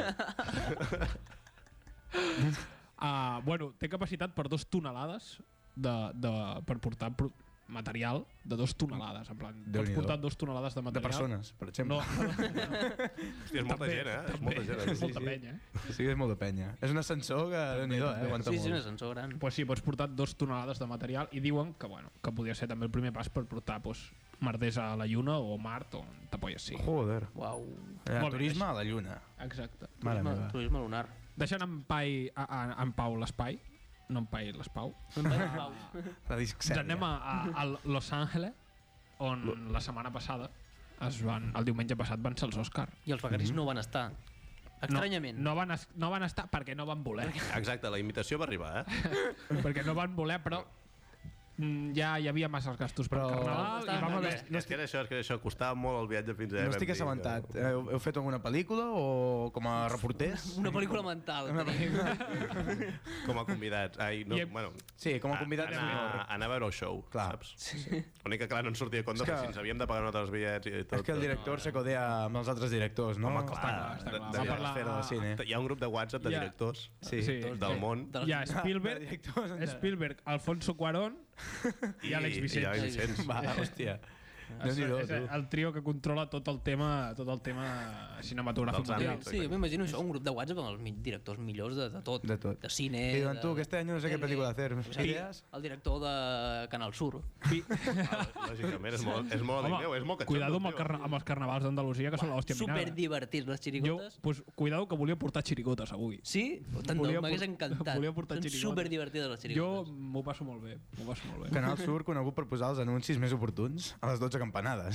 C: Uh, bueno, té capacitat per dos tonelades de, de, per portar pro- material de dos tonelades, en plan, pots
D: Déu-n'hi-do.
C: portar dos tonelades de
D: De
C: material.
D: persones, per exemple.
C: No,
A: Hòstia, és molta
C: També,
A: gent, eh? És molta gent.
C: és
A: eh?
C: molta
D: sí.
C: penya, eh?
D: Sí, és molt de penya. És un ascensor que, déu-n'hi-do, eh? Aguanta
B: Sí, sí, un
D: molt.
B: ascensor gran.
C: pues sí, pots portar dos tonelades de material i diuen que, bueno, que podria ser també el primer pas per portar pues, merders a la Lluna o Mart o on t'apolles sigui.
D: Joder.
B: Uau.
D: Eh,
C: Molt bé,
D: turisme a la lluna.
C: Exacte.
D: Mare
B: Turisme-
D: meva.
B: Turisme lunar.
C: Deixant en, pai, a, a, en pau l'espai, no en pai l'espau,
D: La
C: ens
D: discèria.
C: anem a, a, a Los Angeles, on la setmana passada, es van, el diumenge passat, van ser els Oscar.
B: I els becaris no van estar. Estranyament.
C: Mhm. No, no, van, es- no van estar perquè no van voler.
A: Exacte, la imitació va arribar, eh?
C: perquè no van voler, però mm, ja hi havia masses gastos per
D: Però-
C: Carnaval i
B: Estaven-
C: vam haver...
B: no-
A: No és que era això, és que era això. Costava molt el viatge fins allà.
D: No
A: vam
D: estic
A: dir que-
D: assabentat. Eh, Heu, heu fet alguna pel·lícula o com a reporters?
B: Una pel·lícula mental.
D: Una
B: tenim.
A: Com a convidats. Ai, no,
C: I-
A: bueno,
D: Sí, com a convidat.
A: anar,
D: Anar...
A: anar Ah, a veure el show,
D: Clar.
A: saps? Sí. L'únic que clar, no ens sortia a compte,
D: És que-
A: que... si ens havíem de pagar nosaltres els bitllets i tot. eh?
D: És que el director se codea amb els altres directors, no? Ah.
A: Home, clar,
C: està clar.
A: de-
C: Va
A: de-
C: parlar-
D: l'esfera del cine.
A: Hi ha un grup de WhatsApp de
C: Ja.
A: directors
D: Sí.
C: Sí.
A: del món
B: De la-
C: Hi ha
D: Ah,
C: Spielberg,
D: directors,
C: Spielberg, Alfonso Cuarón i Àlex
A: I
C: Vicens.
A: Àlex Vicenç.
D: Va, hòstia.
C: És,
D: Déu-n'hi-do,
C: és
D: tu.
C: el trio que controla tot el tema, tot el tema cinematogràfic.
A: Dels
C: mundial.
A: àmbits.
B: Sí, jo m'imagino això, un grup de WhatsApp amb els mi- directors millors de, de tot.
D: De tot.
B: De cine...
D: Que diuen,
B: de-
D: tu, aquest any no sé
B: de
D: què pel·lícula hacer,
B: tele.
D: ¿tienes idees?
B: El director de Canal Sur.
A: Lògicament, és molt, és molt,
C: Home,
A: meu, és molt catxondo,
C: cuidado amb, el
A: tio.
C: carna amb els carnavals d'Andalusia, que són l'hòstia
B: Super
C: minada.
B: divertits les
C: Jo,
B: xirigotes.
C: pues, cuidado que volia portar xirigotes avui.
B: Sí? Tant de
C: Volia
B: bo, m'hagués
C: por-
B: encantat.
C: volia portar
B: Són
C: xirigotes.
B: super divertides les
C: Jo
B: xirigotes.
C: m'ho passo molt bé, m'ho passo molt bé.
D: Canal Sur, conegut per posar els anuncis més oportuns a les 12 campanades.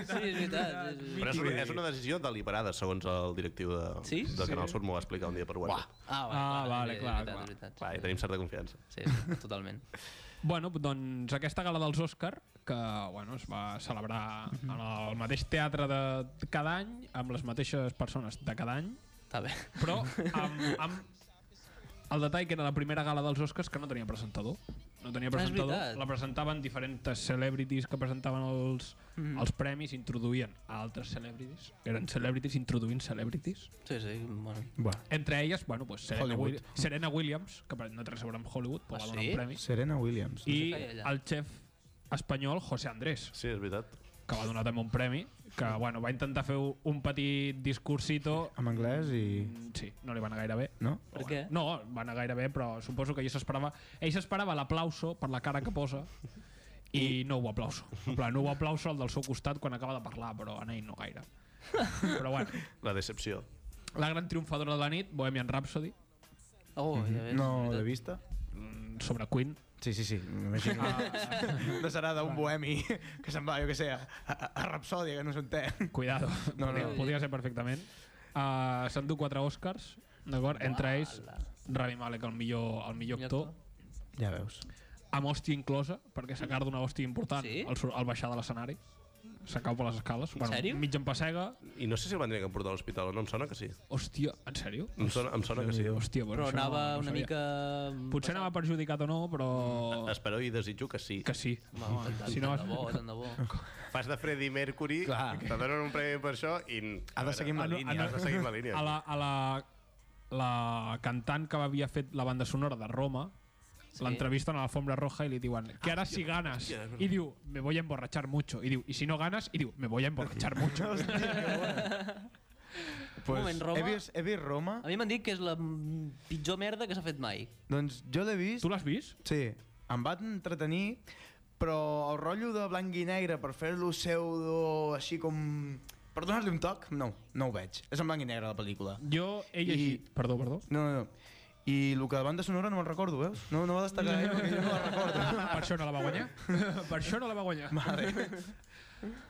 B: Sí, és veritat. sí, sí, sí.
A: Però és una, és una decisió deliberada, segons el directiu de,
B: Sí?
A: de Canal Sur, m'ho va explicar un dia per WhatsApp.
B: Ah,
C: Ah, vale,
B: vale, és
C: clar,
B: veritat,
C: clar.
B: és veritat.
A: Va, hi tenim certa confiança.
B: Sí, sí, totalment.
C: Bueno, doncs aquesta gala dels Òscar, que bueno, es va celebrar en el mateix teatre de cada any, amb les mateixes persones de cada any,
B: Està bé.
C: però amb, amb el detall que era la primera gala dels Oscars que no tenia presentador. No tenia
B: Ah, és
C: presentador,
B: veritat.
C: la presentaven diferents celebrities que presentaven els, mm. els premis, introduïen a altres celebrities, que eren celebrities introduint celebrities.
B: Sí, sí, bueno.
D: Bueno,
C: Entre elles, bueno, pues Serena,
D: Hollywood.
C: Willi Serena Williams, que per- no té res a veure amb Hollywood, però
B: Ah,
C: va donar
B: sí?
C: un premi,
D: Serena Williams.
C: i
B: què feia allà.
C: el xef espanyol José Andrés,
A: Sí, és veritat.
C: que va donar també un premi, que bueno, va intentar fer un petit discursito...
D: En anglès i...
C: Mm, Sí, no li va anar gaire bé.
D: No?
B: Per
C: Però
B: què?
C: Bueno, no, va anar gaire bé, però suposo que ell s'esperava... Ell s'esperava l'aplauso per la cara que posa i no ho aplauso. En plan, no ho aplauso al del seu costat quan acaba de parlar, però en ell no gaire. Però bueno,
A: La decepció.
C: la gran triomfadora de la nit, Bohemian Rhapsody,
B: Oh,
C: Mhm.
B: ja ves.
D: No,
B: és
D: de
B: veritat.
D: vista?
C: mm, sobre Queen.
D: Sí, sí, sí, m'imagino.
C: Ah.
D: No serà d'un bohemi que se'n va, jo què sé, a, a, a Rapsòdia, que no és un té.
C: Cuidado,
D: No,
C: no,
D: no.
C: no, podia ser perfectament. Uh, S'endú quatre Oscars, d'acord? Entre ells, Rami Malek, el millor, el millor actor,
D: Ja veus.
C: amb hòstia inclosa, perquè s'acarda una hòstia important
B: Sí?
C: al, sur- al baixar de l'escenari. S'acau per les escales. En
B: sèrio?
C: Mig en passega,
A: I no sé si el van tenir que portar a l'hospital o no, em sona que sí.
C: Hòstia, en sèrio?
A: Em sona, em sona que sí.
C: Hòstia, bueno,
B: Però
C: això
B: anava
C: no, no ho
B: una
C: sabia.
B: mica... Mm.
C: Potser anava perjudicat o no, però...
A: Espero i desitjo que sí.
C: Que sí.
B: Home, tant,
C: Si
B: si
C: no
B: no,
C: vas-
B: tant de bo, tant de bo.
A: Fas de Freddie Mercury,
D: Clar.
A: te donen un premi per això i...
D: Ha de seguir amb la
A: Has de-
D: línia.
A: Has de seguir amb la línia.
C: A la, a la, la cantant que havia fet la banda sonora de Roma,
B: Sí.
C: l'entrevisten a l'alfombra roja i li diuen
D: Ah,
C: que ara si ganes, i diu me voy a emborrachar mucho, i diu i si no ganes, i diu me voy a emborrachar mucho.
D: Pues,
B: moment, Roma?
D: He vist, he vist Roma,
B: A mi m'han dit que és la mm, pitjor merda que s'ha fet mai.
D: doncs jo l'he vist...
C: tu l'has vist?
D: Sí, em va entretenir, però el rotllo de blanc i negre per fer-lo pseudo així com... Per donar-li un toc, no, no ho veig. És en blanc i negre la pel·lícula.
C: Jo he
D: I-
C: llegit... I... Perdó, perdó.
D: No, no, no. I el que de banda sonora no me'n recordo, veus? No, no va destacar ell perquè jo no la recordo.
C: Per això no la va guanyar. per això no la va guanyar.
D: Vale.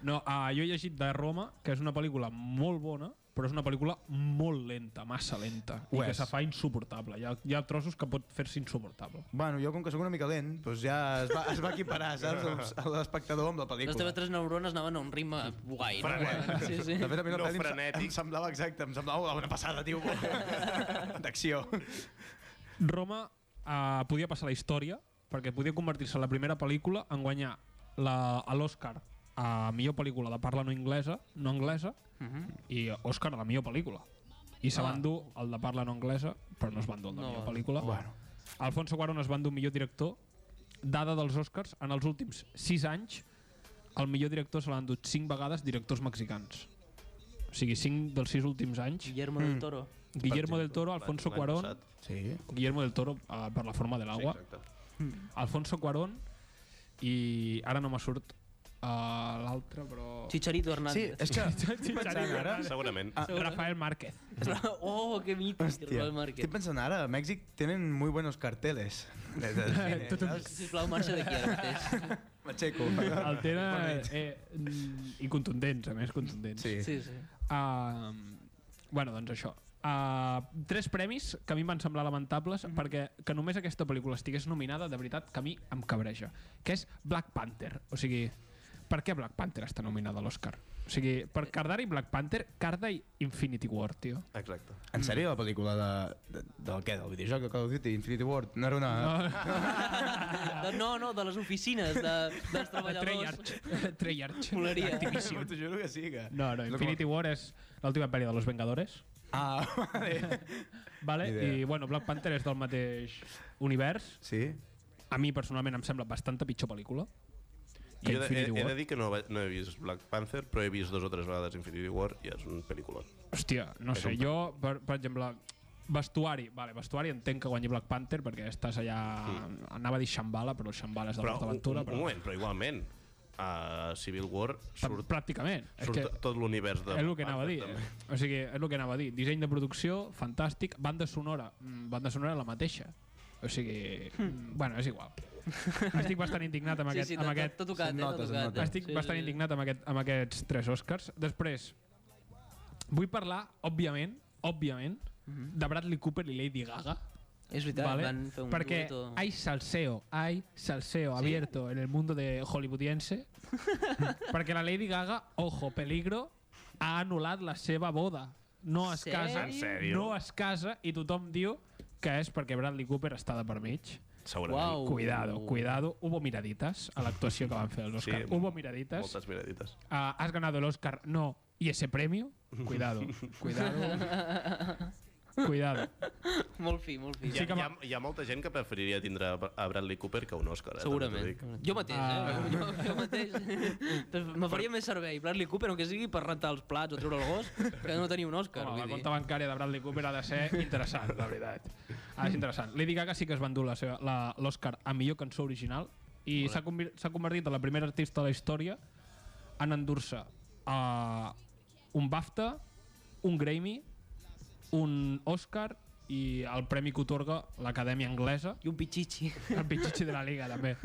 C: No, uh, jo he llegit de Roma, que és una pel·lícula molt bona, però és una pel·lícula molt lenta, massa lenta,
D: Ho
C: i que
D: és.
C: se fa insuportable. Hi ha, hi ha trossos que pot fer-se insuportable.
D: Bueno, jo com que sóc una mica lent, doncs ja es va, es va equiparar, saps? L'espectador amb la
B: Les teves
D: pel·lícula.
B: tres neurones anaven a un ritme guai. No?
A: Frenet.
B: Sí, sí.
D: De fet, a mi la
A: No
D: pel·li em se-
A: frenètic.
D: em semblava exacte, em semblava una bona passada, tio. D'acció.
C: Roma uh, podia passar a la història, perquè podia convertir-se en la primera pel·lícula en guanyar la- a l'Oscar a millor pel·lícula de parla no inglesa, no anglesa, i Òscar a la millor pel·lícula. I se
B: Ah.
C: van dur el de parla no anglesa, però no es van dur el de
B: No,
C: millor pel·lícula.
D: Bueno.
C: Alfonso Cuarón es va endur millor director. Dada dels Oscars, en els últims 6 anys, el millor director se l'han dut 5 vegades directors mexicans. O sigui, 5 dels 6 últims anys.
B: Guillermo del Toro.
C: Guillermo del Toro,
A: L'any-
C: Alfonso
A: l'any
C: Cuarón...
A: passat.
D: Sí.
C: Guillermo del Toro eh, per la forma de
A: Sí,
C: l'aigua.
A: exacte.
C: Alfonso Cuarón i ara no me surt eh, l'altre, però...
B: Chicharito
D: Sí,
B: Hernández.
D: és que... Pensant ara,
A: Segurament.
B: Ah.
C: Rafael Márquez.
B: Oh, que mític,
D: Hòstia,
B: Rafael Márquez.
D: estic pensant ara, a Mèxic tenen muy buenos carteles. De- de cine, saps?
B: Sisplau, marxa d'aquí ara mateix.
D: M'aixeco.
C: El
D: Bona
C: tenen...
D: nit.
C: Eh, mm, I contundents, a més, contundents.
D: Sí.
B: Sí, sí.
C: Uh, bueno, doncs això. Uh, tres premis que a mi em van semblar lamentables
D: Mhm.
C: mm -hmm. perquè que només aquesta pel·lícula estigués nominada de veritat que a mi em cabreja que és Black Panther o sigui, per què Black Panther està nominada a l'Oscar? o sigui, per Cardar i Black Panther Cardar i Infinity War, tio
A: Exacte.
C: Ah,
D: En sèrio, la pel·lícula de, de, del què? Del videojoc de Call of Duty, Infinity War? No era una...
B: De, no, no, de les oficines, de, dels treballadors.
C: Treyarch Treyarch
B: Molaria.
C: Activision.
D: T'ho juro que sí, que...
C: no, no,
D: És lo que-
C: Infinity War és l'última pel·li de Los Vengadores
D: Ah, vale.
C: vale?
D: Ni idea.
C: i bueno, Black Panther és del mateix univers
D: Sí?
C: a mi personalment em sembla bastant pitjor pel·lícula que
A: jo he, he, he
C: Infinity War.
A: de dir que no, va- no he vist Black Panther, però he vist dos o tres vegades Infinity War i és un pel·lícula.
C: Hòstia, no sé, jo, per, per exemple, vestuari, vale, vestuari entenc que guanyi Black Panther perquè estàs allà... Anava a dir Shambhala, però el Shambhala és de
A: Però, un, un,
C: l'Hortaventura.
A: un moment, però igualment, a Civil War
C: Surt,
A: surt,
C: pràcticament.
A: surt
C: és que,
A: tot l'univers de
C: és el
A: Black
C: que anava a dir.
A: Panther, també.
C: O sigui, és el que anava a dir. Disseny de producció, fantàstic. Banda sonora, mm, banda sonora la mateixa. O sigui, mm, bueno, és igual. Estic bastant indignat amb
B: Hmm. Sí,
C: aquest...
B: sí,
C: amb
B: t'ha-
C: aquest
B: t'ha tocat,
D: se'n
B: eh? T'ha
D: nota, se'n
B: tocat,
D: nota.
B: eh?
C: estic
B: Sí,
C: bastant
B: sí, sí.
C: indignat amb, aquest, amb aquests tres Oscars. Després, vull parlar, òbviament, òbviament, de Bradley Cooper i Lady Gaga.
B: És veritat,
C: vale?
B: Mhm. van fer un
C: Perquè
B: dueto.
C: hay salseo, hay salseo abierto en el mundo de hollywoodiense. perquè la Lady Gaga, ojo, peligro, ha anul·lat la seva boda. No es
B: Sèrio?
C: casa,
A: En sèrio?
C: no es casa i tothom diu que és perquè Bradley Cooper està de per mig.
A: Segurament.
B: Uau.
C: Cuidado, cuidado. Hubo miraditas a l'actuació que van fer els Oscars.
A: Sí,
C: Hubo miraditas.
A: Moltes miradites.
C: Ah, has ganado el Oscar, no, y ese premio, cuidado, cuidado, cuidado.
B: Molt fi, molt fi.
A: Hi ha,
C: que
A: hi, ha,
C: m'ha-
A: hi ha molta gent que preferiria tindre a Bradley Cooper que un Òscar. Eh?
B: Segurament.
A: també t'ho dic.
B: Jo mateix,
C: Ah.
B: eh? Jo, jo mateix. Doncs Me faria més servei Bradley Cooper, que sigui per rentar els plats o treure el gos, que no tenir un Òscar.
C: Home, la
B: vull dir.
C: compta bancària de Bradley Cooper ha de ser interessant, la veritat. Ha de ser interessant. Lady Gaga sí que es va endur la seva- la- l'Oscar a millor cançó original i s'ha convir- s'ha convertit en la primera artista de la història en endur-se a un BAFTA, un Grammy, un Oscar i el premi que otorga l'Acadèmia Anglesa
B: I un pitxitxi.
C: El pitxitxi de la Liga, també.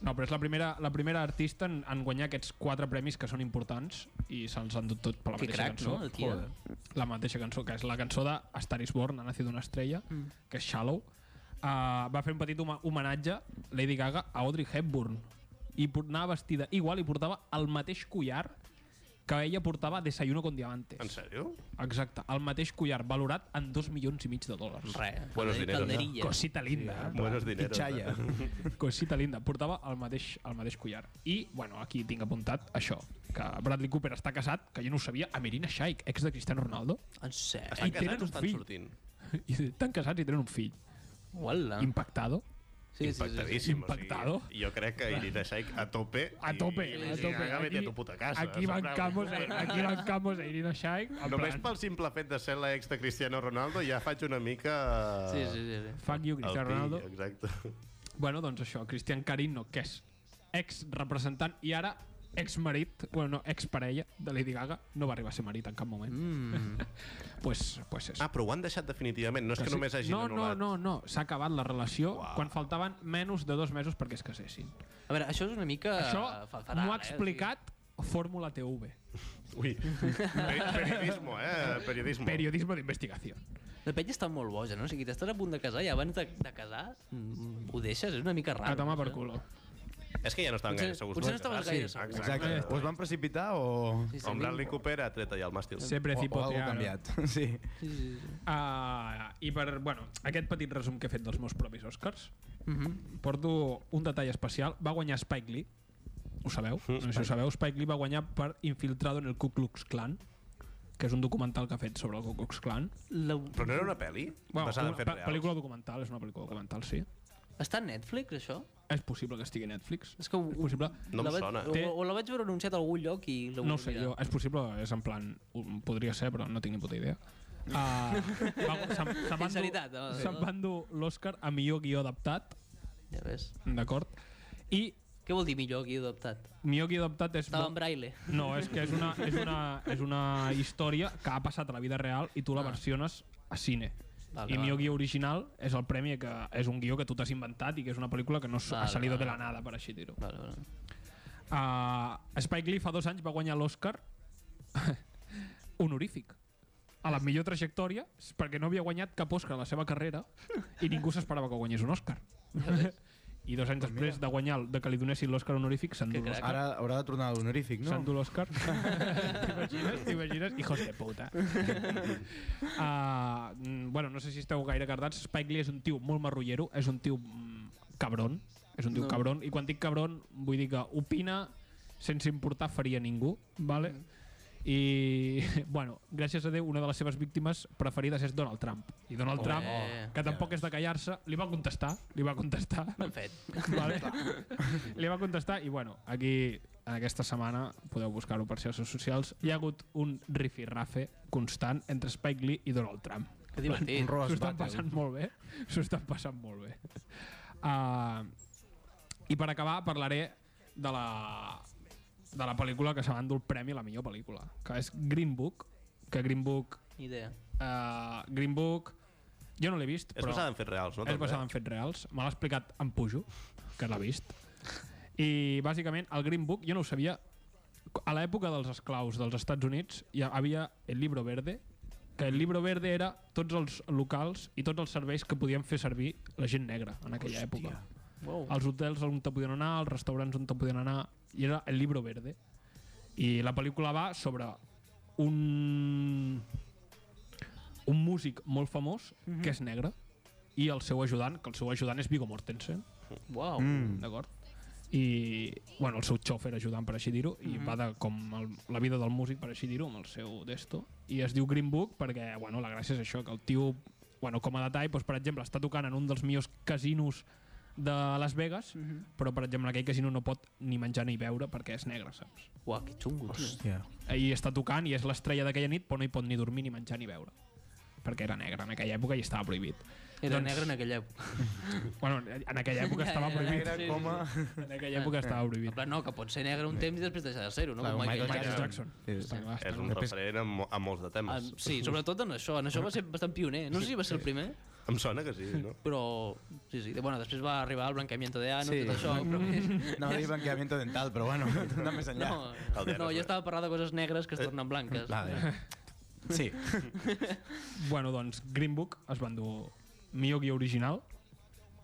C: No, però és la primera, la primera artista en, en guanyar aquests quatre premis que són importants i se'ls han dut tot per la
B: Que
C: mateixa
B: crac,
C: cançó.
B: no, eh? tia?
C: Joder. La mateixa cançó, que és la cançó de A Star is Born, ha nacido una estrella, mm. que és Shallow. Uh, va fer un petit homa- homenatge, Lady Gaga, a Audrey Hepburn. I por- anava vestida igual i portava el mateix collar que ella portava a Desayuno con Diamantes.
A: En sèrio?
C: Exacte, el mateix collar, valorat en dos milions i mig de dòlars.
B: Res.
A: Buenos dineros, eh?
B: Calderilla.
C: Cosita linda. eh?
A: Buenos dineros.
D: Pitxalla.
A: eh?
C: Cosita linda, portava el mateix, el mateix collar. I, bueno, aquí tinc apuntat això, que Bradley Cooper està casat, que jo no ho sabia, amb Irina Shayk, ex de Cristiano Ronaldo,
B: En sèrio?
A: Estan
C: I tenen
A: casats o
C: un
A: estan
C: fill.
A: sortint?
C: i estan casats i tenen un fill.
A: Ah.
B: Uala.
C: Impactado.
B: Sí, sí, sí, sí.
A: Impactadíssim.
C: Impactado.
A: O sigui, jo crec que Irina Shayk a tope.
C: A tope,
A: I,
C: a tope.
A: Gaga vete a tu puta casa.
C: aquí bancamos, eh, aquí bancamos a Irina Shayk. en
A: Només
C: plan,
A: pel simple fet de ser l'ex de Cristiano Ronaldo ja faig una mica...
B: Sí, sí, sí. sí.
C: Fuck you,
A: El
C: Cristiano
A: pi,
C: Ronaldo.
A: exacte.
C: Bueno, doncs això, Cristian Carino, que és ex-representant i ara ex-marit, bueno, no, ex-parella de Lady Gaga, no va arribar a ser marit en cap moment. Mm. pues, pues és.
A: Ah, però ho han deixat definitivament. No és que
C: Ah, sí.
A: només hagin
C: no,
A: anul·lat.
C: No, no, no, s'ha acabat la relació
A: Uau.
C: quan faltaven menys de dos mesos perquè es casessin.
B: A veure, això és una mica...
C: Això
B: fa- fatal,
C: m'ho ha
B: eh?
C: explicat Fórmula TV.
A: Ui. Peri periodismo, eh? Periodismo.
C: Periodismo d'investigació.
B: O sigui, La penya està molt boja, no? O sigui, t'estàs a punt de casar i abans de, de casar mm, ho deixes, és una mica
C: A
B: raro. eh?
C: tomar per
B: no?
C: culo.
A: És que ja no estaven
B: Potser-
A: gaire segurs.
B: potser no
A: de
B: estaves
A: casar-s'hi.
B: gaire segur.
A: Exacte.
D: Exacte. Us van precipitar o...
B: Sí, sí,
A: Com
B: a mi-
A: Bradley Cooper ha tret allà el màstil.
D: O, o
C: Se
D: algo
C: precipotearon.
D: canviat. Sí.
B: Sí, sí, sí.
C: Ah, I per, bueno, aquest petit resum que he fet dels meus propis Oscars,
B: Mhm.
C: porto un detall especial. Va guanyar Spike Lee, ho sabeu?
A: Mm.
C: No sé si ho sabeu, Spike Lee va guanyar per Infiltrado en el Ku Klux Klan, que és un documental que ha fet sobre el Ku Klux Klan.
B: La...
A: Però no era una pel·li?
C: Bueno,
A: Basada en
C: una
A: fets
C: pe-
A: reals.
C: pel·lícula documental, és una pel·lícula documental, sí.
B: Està a Netflix, això?
C: És possible que estigui a Netflix?
B: És que ho,
C: És possible?
A: No em
B: la vaig,
A: sona.
B: O, o, la vaig veure anunciat a algun lloc i... la
C: No ho
B: vull
C: sé,
B: mirar.
C: jo. És possible, és en plan... um, Podria ser, però no tinc ni puta idea. Uh, va, se, se van
B: Sinceritat,
C: dur,
B: no?
C: se'n van dur l'Oscar a millor guió adaptat,
B: Ja ves.
C: d'acord? I
B: Què vol dir millor guió adaptat?
C: millor guió adaptat és...
B: Estava
C: bo-
B: en braille.
C: No, és que és una, és, una, és una història que ha passat a la vida real i tu la versiones a cine.
B: Ah. Vale,
C: I
B: vale.
C: millor guió original és el premi que és un guió que tu t'has inventat i que és una pel·lícula que no s- ha
B: Vale,
C: salido de la
B: vale.
C: nada, per així dir-ho.
B: Vale, vale.
C: Uh, Spike Lee fa dos anys va guanyar l'Oscar honorífic a la millor trajectòria s- perquè no havia guanyat cap Oscar a la seva carrera i ningú s'esperava que guanyés un Oscar i dos anys després de guanyar el- de que li donessin l'Oscar honorífic s'endú
B: Que crac.
C: l'Oscar
D: Ara haurà de tornar a l'honorífic, no?
C: s'endú l'Oscar t'imagines? t'imagines? hijos de puta uh, bueno, no sé si esteu gaire cardats Spike Lee és un tio molt marrullero és un tio mm, cabron és un tio
B: No.
C: no. cabron
B: Mm.
C: i quan dic cabron vull dir que opina sense importar faria ningú vale? I, bueno, gràcies a Déu, una de les seves víctimes preferides és Donald Trump. I Donald
B: Oh.
C: Trump,
B: Eh.
C: que tampoc és de callar-se, li va contestar, li va contestar,
B: Ben fet.
C: vale? li va contestar i, bueno, aquí en aquesta setmana, podeu buscar-ho per xarxes socials, hi ha hagut un rifirrafe constant entre Spike Lee i Donald Trump.
B: Que divertit.
D: Un roast
C: S'ho estan
D: battle.
C: passant molt bé. S'ho estan passant molt bé. Uh, I per acabar parlaré de la, de la pel·lícula que se va endur el premi a la millor pel·lícula, que és Green Book, que Green Book...
B: Ni idea.
C: Uh, Green Book... Jo no l'he vist,
A: És
C: però...
A: basada en fets reals, no?
C: És basada en fets reals. Me l'ha explicat en Pujo, que l'ha vist. I, bàsicament, el Green Book, jo no ho sabia, a l'època dels esclaus dels Estats Units hi havia el Libro Verde, que el Libro Verde era tots els locals i tots els serveis que podien fer servir la gent negra en aquella època.
B: Wow.
C: Els hotels on te podien anar, els restaurants on te podien anar, i era el Libro Verde. I la pel·lícula va sobre un un músic molt famós mm -hmm. que és negre i el seu ajudant, que el seu ajudant és Viggo Mortensen,
B: Wow.
D: Mm.
C: d'acord? I, bueno, el seu xòfer ajudant, per així dir-ho,
D: Mm-hmm.
C: i va de com el, la vida del músic, per així dir-ho, amb el seu desto. I es diu Green Book perquè, bueno, la gràcia és això, que el tio, bueno, com a detall, doncs, per exemple, està tocant en un dels millors casinos de Las Vegas, mm
D: Mm-hmm.
C: -hmm. però, per exemple, en aquell casino no pot ni menjar ni beure perquè és negre, saps?
B: Uau, que xungo, tio.
D: Yeah.
C: i està tocant i és l'estrella d'aquella nit però no hi pot ni dormir, ni menjar, ni beure perquè era negre en aquella època i estava prohibit
B: Era
C: Doncs-
B: negre en aquella època.
C: bueno, en aquella època
B: Ja,
C: estava
B: ja,
C: prohibit
D: Era
B: Sí, sí,
D: com a...
C: en aquella època estava
B: En
C: prohibit
B: plan, no, que pot ser negre un temps i després deixar de ser-ho, no?
D: Clar,
B: Com
D: Michael
C: Michael Jackson
D: Sí, sí.
C: Està clar, està
A: És un
C: clar.
A: referent en, mo- en molts de
B: Ah,
A: temes.
B: sí, sobretot en això. En això va ser bastant pioner. No sé si va ser el primer,
A: Em sona que sí, no?
B: però... Sí, sí. Bueno, després va arribar el blanqueamiento de ano i
D: Sí.
B: tot això, però...
D: No, dir blanqueamiento dental, però bueno, anar més enllà.
B: No,
A: El de Eh, ano
B: no,
A: és
B: jo
A: bo.
B: estava parlant de coses negres que es tornen blanques.
D: Nada. Sí.
C: bueno, doncs Green Book es van dur millor guia original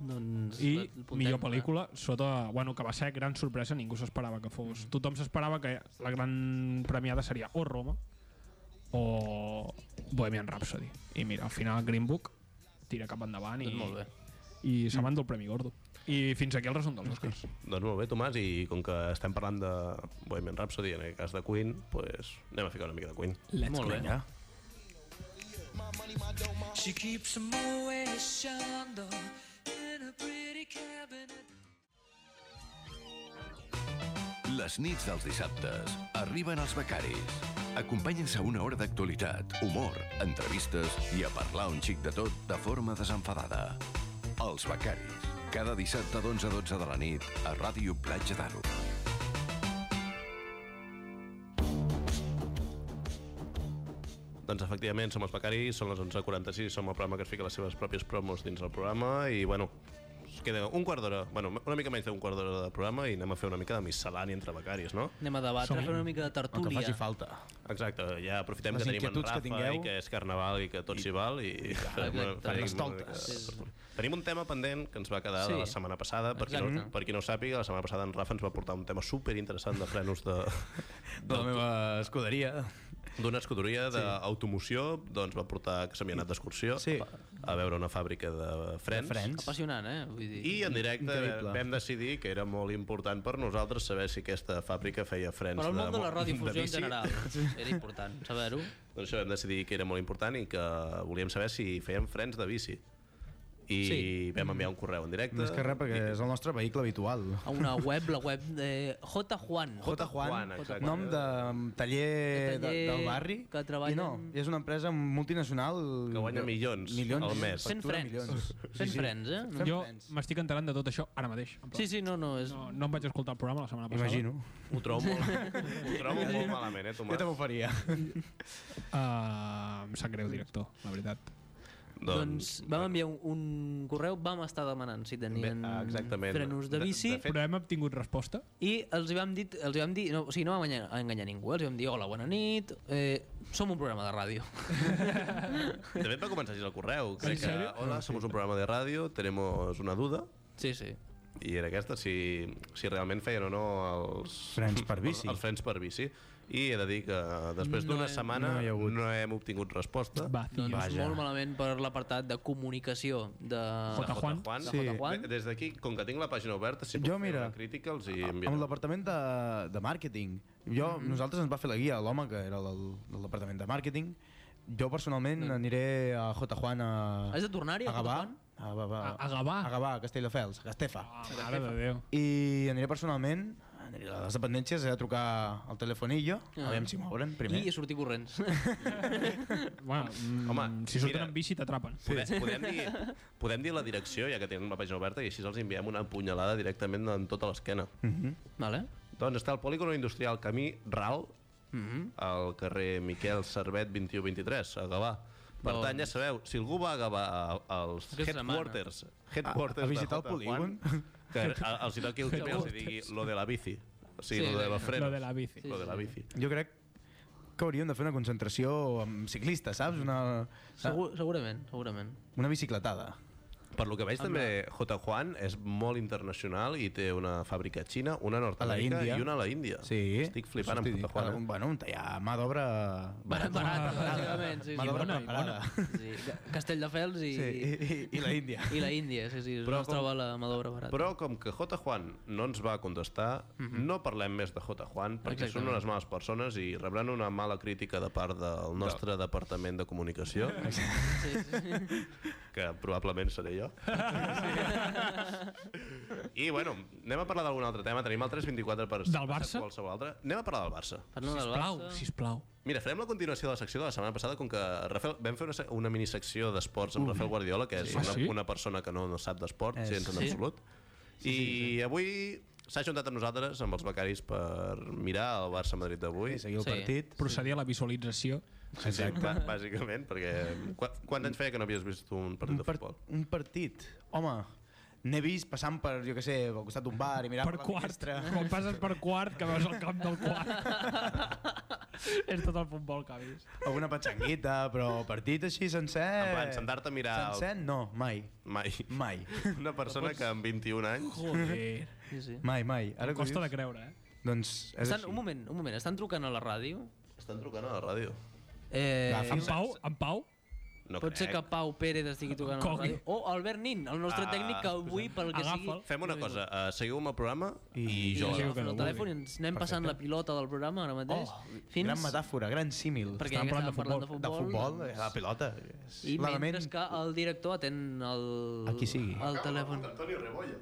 B: Doncs,
C: i
B: el puntem,
C: millor
B: eh?
C: pel·lícula sota, bueno, que va ser gran sorpresa ningú s'esperava que fos tothom s'esperava que la gran premiada seria o Roma o Bohemian Rhapsody i mira, al final Green Book tira cap endavant i,
B: Doncs molt bé.
C: i se m'endú el Premi Gordo. I fins aquí el resum dels Oscars.
A: Doncs molt bé, Tomàs, i com que estem parlant de Bohemian Rhapsody, en aquest cas de Queen, doncs anem a ficar una mica de Queen.
C: Let's
B: Molt bé.
D: Ja.
F: She keeps a Moet Chandon in a pretty cabinet.
E: Les nits dels dissabtes arriben els becaris. Acompanyen-se a una hora d'actualitat, humor, entrevistes i a parlar un xic de tot de forma desenfadada. Els becaris. Cada dissabte d'11 a 12 de la nit a Ràdio Platja d'Aro.
A: Doncs efectivament, som els becaris, són les 11.46, som el programa que es fica les seves pròpies promos dins el programa i, bueno, us queda un quart d'hora, bueno, una mica menys d'un quart d'hora de programa i anem a fer una mica de miscel·lània entre becaris, no?
B: Anem a debatre, fer una mica de
D: El que
B: tertúlia.
D: faci falta.
A: Exacte, ja aprofitem
D: Les
A: que tenim en
D: inquietuds
A: Rafa
D: que tingueu.
A: i que és carnaval i que tot s'hi val i... farem una-
B: Exacte.
A: farem
B: Les
A: una
D: toltes.
A: mica de
B: Sí, sí, sí.
A: tertúlia. Tenim un tema pendent que ens va quedar de la
B: Sí.
A: setmana passada, per qui, no,
B: Exacte.
A: per qui no ho sàpiga, la setmana passada en Rafa ens va portar un tema super interessant de frenos de...
D: De la meva escuderia.
A: d'una escuderia d'automoció, doncs va portar que s'havia anat d'excursió
D: Sí.
A: a veure una fàbrica de frens.
D: Friends.
B: Apassionant, eh? Vull dir,
A: I en directe
D: Increïble.
A: vam decidir que era molt important per nosaltres saber si aquesta fàbrica feia frens
B: Però el món de la
A: mo-
B: radiodifusió en
A: bici.
B: general era important saber-ho.
A: Doncs això vam decidir que era molt important i que volíem saber si feien frens de bici. I sí. vam enviar un correu en directe.
D: Més que res, perquè és el nostre vehicle habitual.
B: A una web, la web de J. Juan.
D: J. Juan,
A: exacte.
D: nom de
B: De taller
D: taller, de, del barri.
B: que treballen-
D: I no, i és una empresa multinacional...
A: Que guanya milions
D: milions
A: al mes.
B: Fent
D: Factura
B: frens.
D: milions.
B: Fent frens, eh?
D: Fem
C: Jo
D: plans.
C: m'estic enterant de tot això ara mateix. en plan.
B: Sí, sí, no, no, és...
C: No, no em vaig escoltar el programa la setmana passada.
D: Imagino.
A: Ho trobo molt, ho trobo molt malament, eh,
D: Jo també
A: Tomàs?
D: ho faria.
C: Uh, em sap greu, director, la veritat.
B: Doncs vam enviar un, un correu, vam estar demanant si tenien
A: Bé, ah, exactament.
B: frenos de
A: De-
B: bici
A: de fet-
C: Però hem obtingut resposta.
B: i els hi vam dir, els hi vam dir no, o sigui, no vam enganyar, enganyar ningú, els hi vam dir hola, bona nit, eh, som un programa de ràdio.
A: De fet va començar així el correu. Crec que,
C: sèrio?
A: hola, somos un programa de ràdio, tenemos una duda.
B: Sí, sí.
A: i era aquesta, si, si realment feien o no els...
D: Frens per bici.
A: Els frens per bici. I he de dir que després
B: No
A: d'una
B: he-
A: setmana
D: no hi ha
A: no,
D: hagut.
A: no hem obtingut resposta.
C: Va, tio.
B: Doncs
D: Vaja.
B: molt malament per l'apartat de comunicació de...
C: Jota Juan.
A: Juan.
B: Sí. Jota Juan.
A: Bé, Des d'aquí, com que tinc la pàgina oberta, si puc
D: Jo,
A: fer
D: mira,
A: una crítica, els hi
D: Amb
A: enviaré.
D: el departament de, de màrqueting. Jo,
B: Mm.
D: nosaltres ens va fer la guia l'home que era del, del departament de màrqueting. Jo personalment aniré a J. Juan a...
B: Mm. Has de tornar-hi a J.
D: Gavà.
B: Juan?
D: A, Gavà.
C: A- a Gavà?
D: A Gavà, a Castelldefels, a Gastefa.
C: Ah, mare de Déu.
D: I aniré personalment, aniré a les dependències, he de trucar al telefonillo,
B: Ah.
D: a veure si m'obren primer.
B: I a sortir corrents.
C: Bueno, mm,
A: Home,
C: si surten
A: mira.
C: en bici t'atrapen.
A: Podem, podem, dir, podem dir la direcció, ja que tenen la pàgina oberta, i així els enviem una punyalada directament en tota l'esquena.
B: vale?
A: Doncs està el polígon industrial Camí Ral,
B: Mm-hmm.
A: al carrer Miquel Servet 2123, a Gavà. Per
B: Doncs-
A: tant, ja sabeu, si algú va a Gavà a- als
B: Aquesta setmana.
A: headquarters, headquarters
D: A- a visitar
A: de
D: el
A: J. Juan, que a- els hi toqui el tema i els hi digui lo de la bici. O sigui,
B: Sí,
A: lo de
B: lo
A: la frena.
C: Lo de la bici.
A: Lo de la bici.
D: Jo crec que hauríem de fer una concentració amb ciclistes, saps? Una,
B: Segur, segurament, segurament.
D: una bicicletada.
A: Per lo que veig també, J. Juan és molt internacional i té una fàbrica a Xina, una a Nord-Amèrica
D: Índia.
A: i una a la Índia.
D: Sí.
A: Estic flipant amb
D: Hosti,
A: J. Juan.
D: Un,
A: eh?
D: bueno, un tallar mà d'obra...
B: Barat, barat, relativament, sí, sí.
D: Mà d'obra
B: Bona,
D: preparada.
B: bona. Sí, Ca- Castelldefels i,
D: Sí, i, i, i la Índia.
B: i la Índia, sí, sí,
A: Però
B: Però on es
A: com-
B: troba la mà d'obra barata.
A: Però com que J. Juan no ens va contestar, no parlem més de J. Juan perquè
B: Exactament.
A: són unes males persones i rebran una mala crítica de part del nostre departament de comunicació,
B: Sí, sí.
A: que probablement seré jo. I bueno, anem a parlar d'algun altre tema. Tenim el 324 per
C: Del
A: per
C: Barça?
A: qualsevol altre. Anem a parlar del Barça.
B: Parlem del
C: Sisplau,
B: Barça.
C: sisplau.
A: Mira, farem la continuació de la secció de la setmana passada, com que Rafael, vam fer una, se- una minisecció d'esports amb Rafael Guardiola, que és
C: Ah,
A: una,
C: sí?
A: una persona que no, no sap d'esport,
D: És-
A: gens en
B: sí.
A: absolut. I avui s'ha juntat amb nosaltres, amb els becaris, per mirar el Barça-Madrid d'avui.
D: I seguir el
B: Sí.
D: partit.
C: Procedir a la visualització.
A: Sí, sí, bà- bàsicament, perquè qu quants anys feia que no havies vist un partit
D: Un,
A: de
D: par
A: futbol?
D: un partit. Home, n'he vist passant per, jo què sé, al costat d'un bar i mirar
C: Per
D: la
C: quart.
D: finestra.
C: Quan passes per quart, que veus el camp del quart. És tot el futbol que ha vist.
D: Alguna petxanguita, però partit així sencer...
A: En plan, sentar-te a mirar... el-
D: Eh, Sencer, no, mai.
A: Mai.
D: Mai.
A: Una persona que amb 21 anys...
C: Joder.
B: Sí, sí.
D: Mai, mai. Ara que ho
C: Costa de
D: dius,
C: creure, eh?
D: Doncs és
B: Estan,
D: així.
B: un moment, un moment, estan trucant a la ràdio?
A: Estan trucant a la ràdio.
B: Eh,
D: Agafa.
C: En Pau, en Pau,
A: No
B: pot ser
A: crec.
B: que Pau Pérez estigui trucant a la
C: Cogui.
B: ràdio. O Albert Nin, el nostre
A: Ah,
B: tècnic que avui, pel que sigui...
C: Agafa'l.
A: Fem una cosa, uh, seguiu-me al programa i,
B: I
A: jo...
B: jo
C: Sí,
B: agafo
C: que
B: el
C: no
B: telèfon i
D: vulgui.
B: ens anem passant la pilota del programa ara mateix.
D: Oh, Gran metàfora, gran símil.
B: perquè
C: Estàvem
B: ja
C: parlant
B: estàvem
C: de
B: parlant de
D: De
B: futbol.
D: futbol,
B: doncs,
D: eh, la pelota. és
B: I mentre
D: l'element-
B: que el director atén el,
D: A qui sigui.
B: el telèfon.
A: Antonio Rebollo.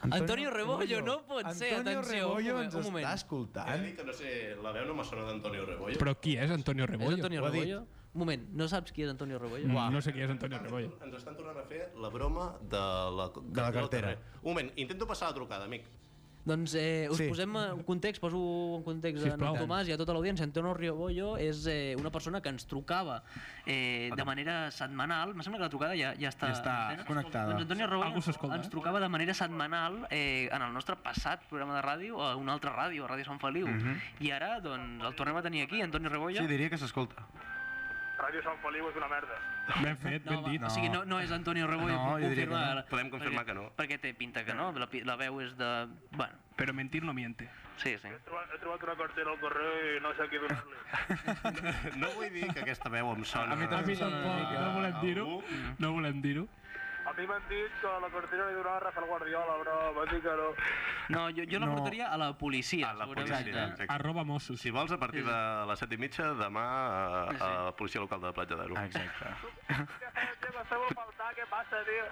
B: Antonio Rebollo, no pot ser,
D: Antonio
B: atenció, un
D: Rebollo
B: moment,
D: ens
B: un moment. Eh,
D: està
A: He de
D: escoltant.
A: dir que no sé, la veu no m'ha sonat d'Antonio Rebollo.
C: però qui és Antonio
B: És
C: Rebollo?
B: Antonio
D: Ho ha dit.
B: Rebollo? Un moment, no saps qui és Antonio Rebollo?
C: Mm, No sé qui és Antonio Rebollo.
A: Ens estan tornant a fer la broma de la,
D: De la cartera.
A: Un moment, intento passar la trucada, amic.
B: Doncs eh, us
D: Sí.
B: posem en context, poso en context
C: Sisplau.
B: a en Tomàs i a tota l'audiència. Antonio Rebollo és eh, una persona que ens trucava eh, de manera setmanal. Em sembla que la trucada ja, ja està...
D: Ja està
B: entena?
D: connectada.
B: Doncs Antonio
C: Algú s'escolta,
B: Rebollo
C: eh?
B: ens trucava de manera setmanal eh, en el nostre passat programa de ràdio, a una altra ràdio, a Ràdio Sant Feliu. I ara doncs, el tornem a tenir aquí, Antonio Rebollo.
D: Mhm. diria que s'escolta.
G: Ràdio Sant Feliu és una merda.
C: Ben fet, ben
B: No, va,
C: dit.
B: o sigui, no, no és Antonio Rebollo,
D: No,
B: puc
D: jo diria que
B: confirmar.
D: no.
A: Podem confirmar
B: perquè,
A: que no.
B: Perquè té pinta que no, la, pi- la veu és de... Bueno,
C: Però mentir no miente.
B: sí, sí.
G: He trobat, he trobat una cartera al correu i no sé a qui donar-li.
A: No vull dir que aquesta veu em sona.
C: A mi també tampoc, no volem dir-ho. No volem dir-ho.
G: A mi m'han dit que la cartera li donava Rafael Guardiola, però va dir que no.
B: No, jo, jo la portaria a la policia. A la
C: Arroba Mossos.
A: Si vols, a partir de les set i mitja, demà a, a la policia local de Platja d'Aro.
D: Exacte.
G: Què passeu a faltar? Què passa, tio?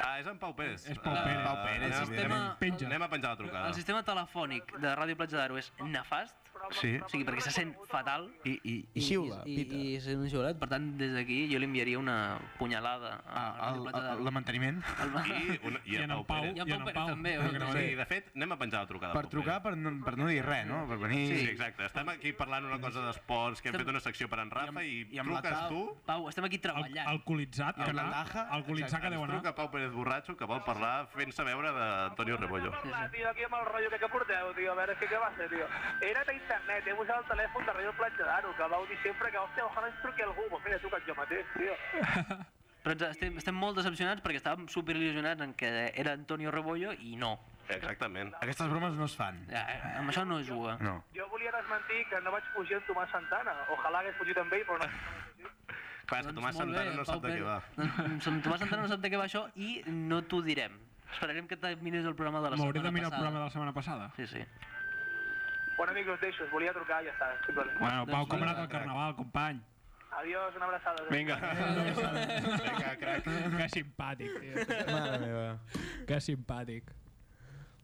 A: Ah, és en Pau Pérez.
C: És Pau Pérez.
A: Pau Pérez,
B: El sistema,
C: Penja.
A: Anem a penjar la trucada.
B: el sistema telefònic de Ràdio Platja d'Aro és nefast,
G: Sí.
B: o sigui, perquè se sent fatal. I, i,
D: i xiula,
B: i,
D: pita.
B: I, sent un xiulet, per tant, des d'aquí jo li enviaria una punyalada a Ràdio Platja d'Aro.
D: manteniment.
A: I, una, i,
C: I en Pau.
A: Pérez.
B: I en Pau Pérez també, oi?
A: Sí,
B: Sí.
A: de fet, anem a penjar la trucada.
D: Per
A: Pau
D: trucar, per no, per no dir res, no? Per venir...
A: Sí, exacte. Estem aquí parlant una cosa d'esports, que hem fet una secció per en Rafa i,
D: i amb la
A: truques
D: Pau.
A: tu,
B: Pau, estem aquí
C: Al-
B: treballant.
C: Alcoholitzat,
D: I
C: que
D: amb la
C: anar-
D: taja,
C: alcoholitzat que
D: exacte,
C: deu
A: es
C: anar.
A: truca Pau Pérez Borratxo, que vol parlar fent-se veure d'Antonio Rebollo.
G: Parlar, tio, aquí amb el rotllo que, que porteu, tio. A veure, és que què va ser, tio? He anat a internet, he buscat el telèfon de Ràdio Platja d'Aro, que vau dir sempre que, hòstia, ojalà ens truqui algú. Pues mira, he trucat jo mateix, tio.
B: Però ens estem, estem molt decepcionats perquè estàvem super il·lusionats en que era Antonio Rebollo i no.
A: Exactament.
D: Aquestes bromes no es fan.
B: Ja, eh, amb això no es juga.
D: No.
G: Jo volia desmentir que no vaig fugir amb Tomàs Santana. Ojalà hagués fugit amb ell, però no.
A: Clar, és que Tomàs Santana no sap de què va.
B: Doncs, Tomàs Santana no sap de què va això i no t'ho direm. Esperarem que te mires el programa de la
C: M'hauré
B: setmana
C: de mirar el
B: passada.
C: programa de la setmana passada.
B: Sí, sí.
G: Bueno, amics, us deixo. Us volia trucar i ja està. eh, Simplement.
C: Bueno, Pau,
B: Doncs
C: com ha
B: vinga,
C: anat el carnaval, company?
G: Adiós, una abraçada.
A: Vinga. Vinga, crac.
C: Que simpàtic, tio.
D: Mare meva.
C: Que simpàtic.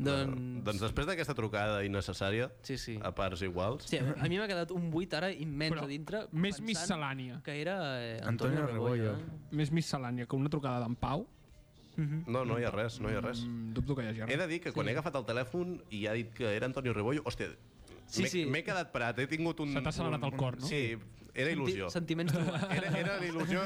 B: Doncs...
A: Doncs després d'aquesta trucada innecessària,
B: Sí, sí.
A: a parts iguals,
B: Hòstia, a mi m'ha quedat un buit ara immens
C: Però
B: a dintre.
C: Més
B: pensant
C: miscel·lània.
B: Que era eh,
D: Antonio
B: Antonio,
D: Rebollo.
B: Rebollo. eh?
C: Més miscel·lània que una trucada d'en Pau.
A: no, no hi ha res, no hi ha res.
C: Mm, dubto que hi hagi
A: He
C: res.
A: de dir que quan he agafat el telèfon i ha dit que era Antonio Rebollo, hòstia,
B: Sí,
A: m'he-
B: sí.
A: m'he quedat parat, he tingut un...
C: Se t'ha accelerat el
A: un-
C: cor, no?
A: Sí, era il·lusió.
B: Sentiments trobats.
A: Era, era l'il·lusió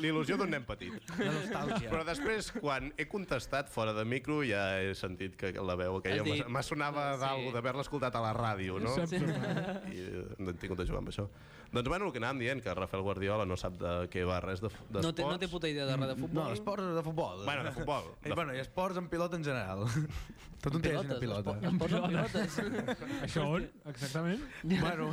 A: l'il·lusió d'un nen petit.
D: La nostàlgia.
A: Però després, quan he contestat fora de micro, ja he sentit que la veu aquella
B: Has dit-
A: m'ha sonava
B: Sí.
A: d'algú, d'haver-la escoltat a la ràdio, no?
C: Saps?
A: I eh, no he tingut de jugar amb això. Doncs bueno, el que anàvem dient, que Rafael Guardiola no sap de què va res de- d'esports. Mm,
B: No té, no té puta idea de res de
D: No,
B: futbol.
D: esports de futbol.
A: Bueno, de futbol.
D: I, bueno, i esports en pilota en general. Tot un temps una pilota.
B: Esports, esports amb pilotes.
C: Això on? Exactament.
D: Bueno,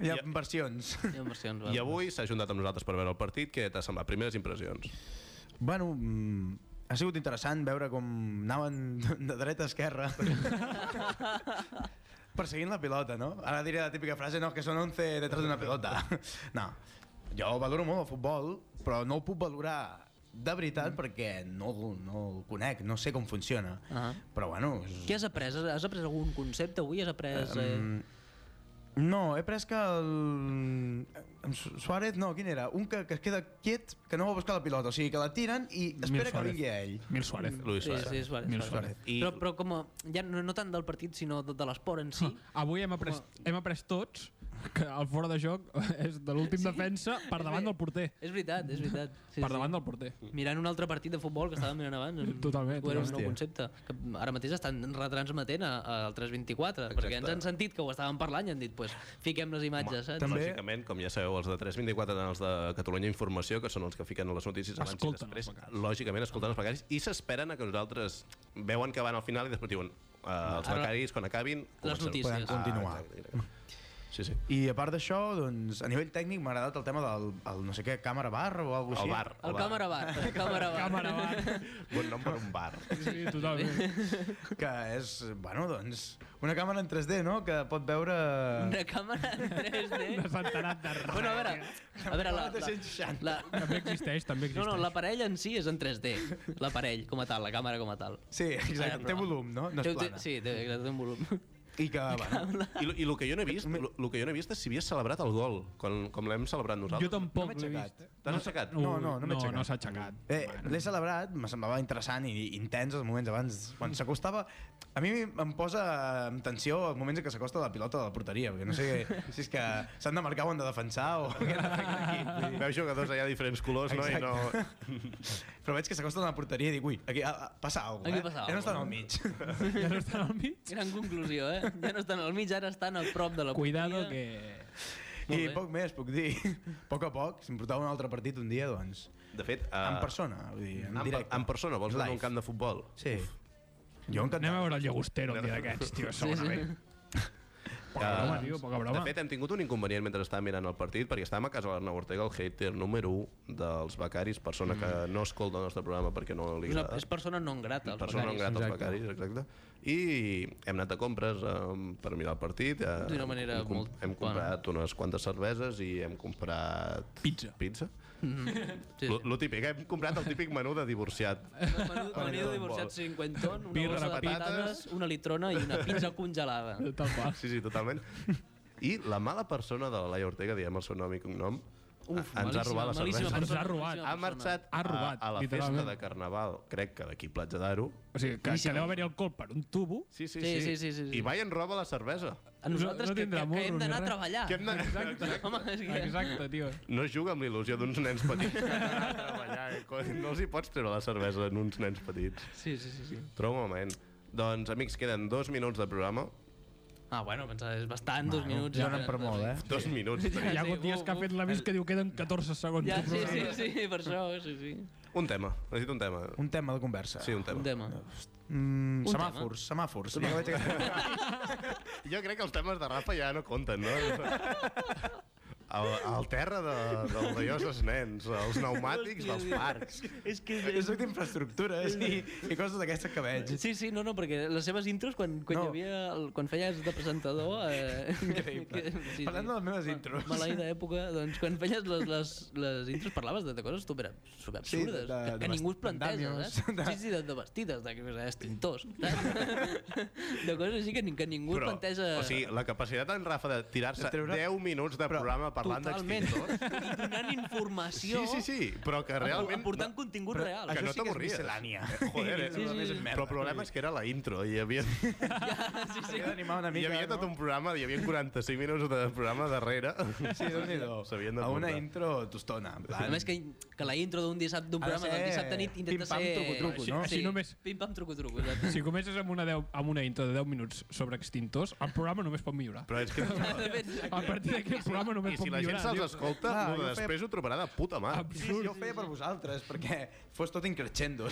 D: hi ha
A: Ja.
D: versions.
B: Hi ha versions,
A: I
B: va.
A: avui s'ha juntat amb nosaltres per veure el partit. Què t'ha semblat? Primeres impressions.
D: Bueno, mm, ha sigut interessant veure com anaven de dreta a esquerra. Perseguint la pilota, no? Ara diré la típica frase, no, que són 11 detrás d'una pilota. No, jo valoro molt el futbol, però no el puc valorar de
B: Mm.
D: veritat perquè no, no el conec, no sé com funciona.
B: Ah.
D: Però bueno... és-
B: Què has après? Has après algun concepte avui? Has après... Eh,
D: No, he pres que el... en Su- Suárez, no, quin era? Un que, que es queda quiet, que no va a buscar la pilota, o sigui, que la tiren i espera que
C: Suárez.
D: vingui a ell.
C: Mil Suárez.
A: Luis Suárez.
B: Sí, sí, Suárez.
C: Mil
B: Suárez.
A: Suárez. I-
B: Però, però com a, ja no, no tant del partit, sinó de, de l'esport en si.
C: Avui hem après, hem après tots que el fora de joc és de l'últim defensa per
B: És
C: davant
B: ve-
C: del porter.
B: És veritat, és veritat. Sí,
C: Per davant del porter.
B: Sí. Mirant un altre partit de futbol que estàvem mirant abans. em-
C: Totalment,
B: Ho era un nou
D: totalment.
B: concepte. Que ara mateix estan retransmetent a- a- al 324, Exacte. perquè ens han sentit que ho estàvem parlant i han dit, pues, fiquem les imatges, saps?
D: també-
A: Lògicament, com ja sabeu, els de 324 tant els de Catalunya Informació, que són els que fiquen les notícies abans
C: Escolten
A: i
C: els
A: després, lògicament escolten els becaris i s'esperen a que nosaltres veuen que van al final i després diuen eh, els
B: Ara-
A: becaris, quan acabin... comencen.
B: notícies.
D: Poden
B: Ah,
D: continuar.
A: exacte, exacte. Sí, sí.
D: I a part d'això, doncs, a nivell tècnic m'ha agradat el tema del el, no sé què, càmera bar o alguna cosa
A: El
D: així.
A: bar.
B: El càmera bar, el càmera bar.
C: Càmera avant.
A: Bon nom per un bar.
C: Sí, totalment.
D: Que és, bueno, doncs, una càmera en 3D, no?, que pot veure...
B: Una càmera en 3D.
C: Desentenat de res.
B: Bueno, a veure, a veure, la, la,
D: 360.
B: la,
C: També existeix,
B: no,
C: també existeix.
B: no, l'aparell en si és en 3D. L'aparell, com a tal, la càmera com a tal.
D: Sí, exacte,
B: Ara,
D: té
B: però-
D: volum, no? No
B: Té-
D: és
B: té-
D: plana.
B: Sí, té, exacte, té un volum.
D: I que, bueno,
A: I, lo- i el que jo no he vist, lo, lo que jo no he vist és si havia celebrat el gol, com, com l'hem celebrat
C: Jo
A: nosaltres.
C: tampoc
D: No m'he
C: l'he
D: aixecat.
C: vist.
A: T'has aixecat?
D: No, no, no m'he
C: no,
D: aixecat.
C: no s'ha aixecat.
D: eh, l'he celebrat, me semblava interessant i intens els moments abans, quan s'acostava... A mi em posa en tensió els moments en què s'acosta la pilota de la porteria, perquè no sé si és que s'han de marcar o han de defensar o què han de fer aquí.
A: Veus jugadors allà de diferents colors, no? I no...
D: Però veig que s'acosten a la porteria i dic, ui, aquí ah, ah, passa alguna
B: Aquí
D: eh?
B: passa
D: ja no
B: alguna.
D: estan al mig.
C: Ja no estan al mig.
B: Gran conclusió, eh? Ja no estan al mig, ara estan a prop de la
C: Cuidado
B: porteria.
C: que...
B: Molt
D: I
B: bé.
D: poc més, puc dir. A poc a poc, si em portava un altre partit un dia, doncs...
A: De fet, uh,
D: En persona, vull dir, en
A: en, Ah, per-
D: directe.
A: en persona, vols anar a un camp de futbol?
D: Sí. Jo encantat.
C: Anem a veure el Llagostero el dia d'aquests, tio,
B: Sí, sí.
C: segurament. Poca broma, tio, poca
A: Ah, De
C: broma.
A: fet, hem tingut un inconvenient mentre estàvem mirant el partit, perquè estàvem a casa de l'Arnau Ortega, el hater número 1 dels becaris, persona que
C: Mm.
A: no escolta el nostre programa perquè no li
B: És, una,
A: agrada.
B: és persona non grata, els
A: persona no
B: becaris.
A: grata als
D: exacte.
A: becaris, exacte. I hem anat a compres um, per mirar el partit. eh,
B: D'una manera
A: hem, com-
B: molt
A: Hem comprat unes quantes cerveses i hem comprat...
C: Pizza.
A: Pizza?
B: Sí,
A: Lo,
B: sí.
A: lo típic, hem comprat el típic menú de divorciat.
B: Menú- Menú de divorciat cinquantón, una
C: Birra,
B: bossa de
A: patates.
B: patates, una litrona i una pizza congelada.
C: Tal qual.
A: Sí, sí, totalment. I la mala persona de la Laia Ortega, diem el seu nom i cognom,
B: Uf,
A: ens ha robat la cervesa.
B: malíssima, malíssima
C: Ens ha
B: persona,
C: robat.
B: malíssima
A: ha
B: persona.
A: marxat
C: Ha robat,
A: a, a la festa
C: literalment.
A: de Carnaval, crec que d'aquí Platja d'Aro.
C: O sigui, que, que deu haver-hi alcohol per un tubo.
A: Sí sí Ah,
B: Sí, sí, sí, sí, sí.
A: I va i en roba la cervesa.
B: A nosaltres
C: No- no
B: que, que,
C: tindrà
B: que hem
C: morros ni
B: d'anar a
C: res.
B: treballar.
A: Que hem de...
B: Home, és que...
C: Exacte, tio.
A: No es juga amb l'il·lusió d'uns nens petits. que han d'anar a treballar, eh, coi. no els hi pots treure la cervesa en uns nens petits.
B: Sí, sí, sí. sí.
A: Trobo un moment. Doncs, amics, queden dos minuts de programa.
B: Ah, bueno, pensava, és bastant, dos minuts. ja.
D: Donen per molt, eh?
A: Dos minuts.
C: Hi
A: tenim.
C: ha
B: sí,
C: hagut dies
B: u-
C: que ha
B: u-
C: fet la vist que diu queden 14 segons.
B: Ja, sí, sí, sí, per això, sí, sí.
A: Un tema, necessito un tema.
D: Un tema de conversa.
A: Sí, un tema.
B: Un tema. Un
D: Mm, semàfors, semàfors. Ja que vaig a...
A: Jo crec que els temes de Rafa ja no compten, no? Al, al terra de, del d'allòs dels nens, els pneumàtics dels parcs.
B: És que...
D: Jo soc d'infraestructures i, i coses d'aquestes que veig.
B: Sí, sí, no, no, perquè les seves intros, quan, quan,
D: No.
B: no. hi havia el, quan feies de presentador... Eh,
D: Increïble. Parlant de les meves intros.
B: Maleïda època, doncs quan feies les, les, les intros parlaves de, de coses super, super
D: Sí, de-
B: absurdes, sí,
D: de-
B: que,
D: de
B: que ningú es
D: bast-
B: planteja, eh?
D: d'àmios, de-
B: Sí, sí, de, de vestides, de, de extintors, saps? de coses així que, ni- que ningú es planteja...
A: o sigui, la capacitat d'en Rafa de tirar-se
D: De treure-
A: 10 minuts de programa parlant
B: Totalment.
A: d'extintors...
B: I donant informació...
A: Sí, sí, sí, però que realment...
B: Aportant contingut
D: Però
B: real.
A: que
D: Això
A: no
D: sí que és
A: t'avorries.
D: miscel·lània.
A: Joder, eh?
B: Sí, sí, sí.
A: Però el problema és que era la intro i hi havia,
B: Sí,
D: He d'animar una
A: hi
D: mica.
A: havia tot
D: no?
A: un programa, hi havia 45 minuts de programa darrere.
D: Sí, déu nhi
A: S'havien de
D: A una
A: portar.
D: intro tostona, en plan...
B: A més que, que la intro d'un dissabte d'un
D: Ha de
B: programa
D: ser
B: del dissabte nit intenta
D: pim-pam,
B: ser...
D: truco-truco, no?
C: Així només-
B: Pim-pam, truco-truco. exacte.
C: Si comences amb una, 10, amb una intro de 10 minuts sobre extintors, el programa només pot millorar.
A: Però és que...
B: De fet,
C: A partir d'aquí el programa
A: I
C: només pot
A: si la gent
C: millorar.
A: se'ls
C: tio.
A: escolta,
D: Clar,
A: no,
D: jo feia-
A: després ho trobarà de puta mà.
D: Sí, sí, jo ho feia per vosaltres, perquè fos tot increixendo.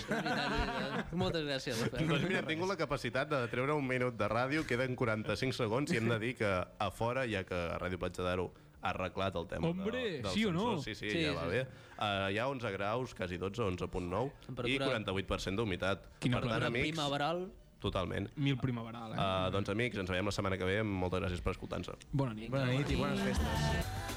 B: Moltes gràcies. Rafael.
A: Doncs mira, tinc la capacitat de treure un minut de ràdio, queden 45 segons i hem de dir que a fora, ja que Ràdio Platja d'Aro ha arreglat el tema
C: Hombre,
A: de, del
C: sí o no?
A: sensor. Sí, sí, sí, ja va
B: sí,
A: bé. Uh, hi ha 11 graus, quasi 12, 11.9 i
B: Temperatura-
A: 48% d'humitat.
C: Quina
A: Per tant,
B: Una
A: amics,
B: primaveral.
A: totalment.
C: Mil primaveral, eh?
A: Uh, doncs amics, ens veiem la setmana que ve. Moltes gràcies per escoltar-nos.
C: Bona nit.
D: Bona nit i bones festes.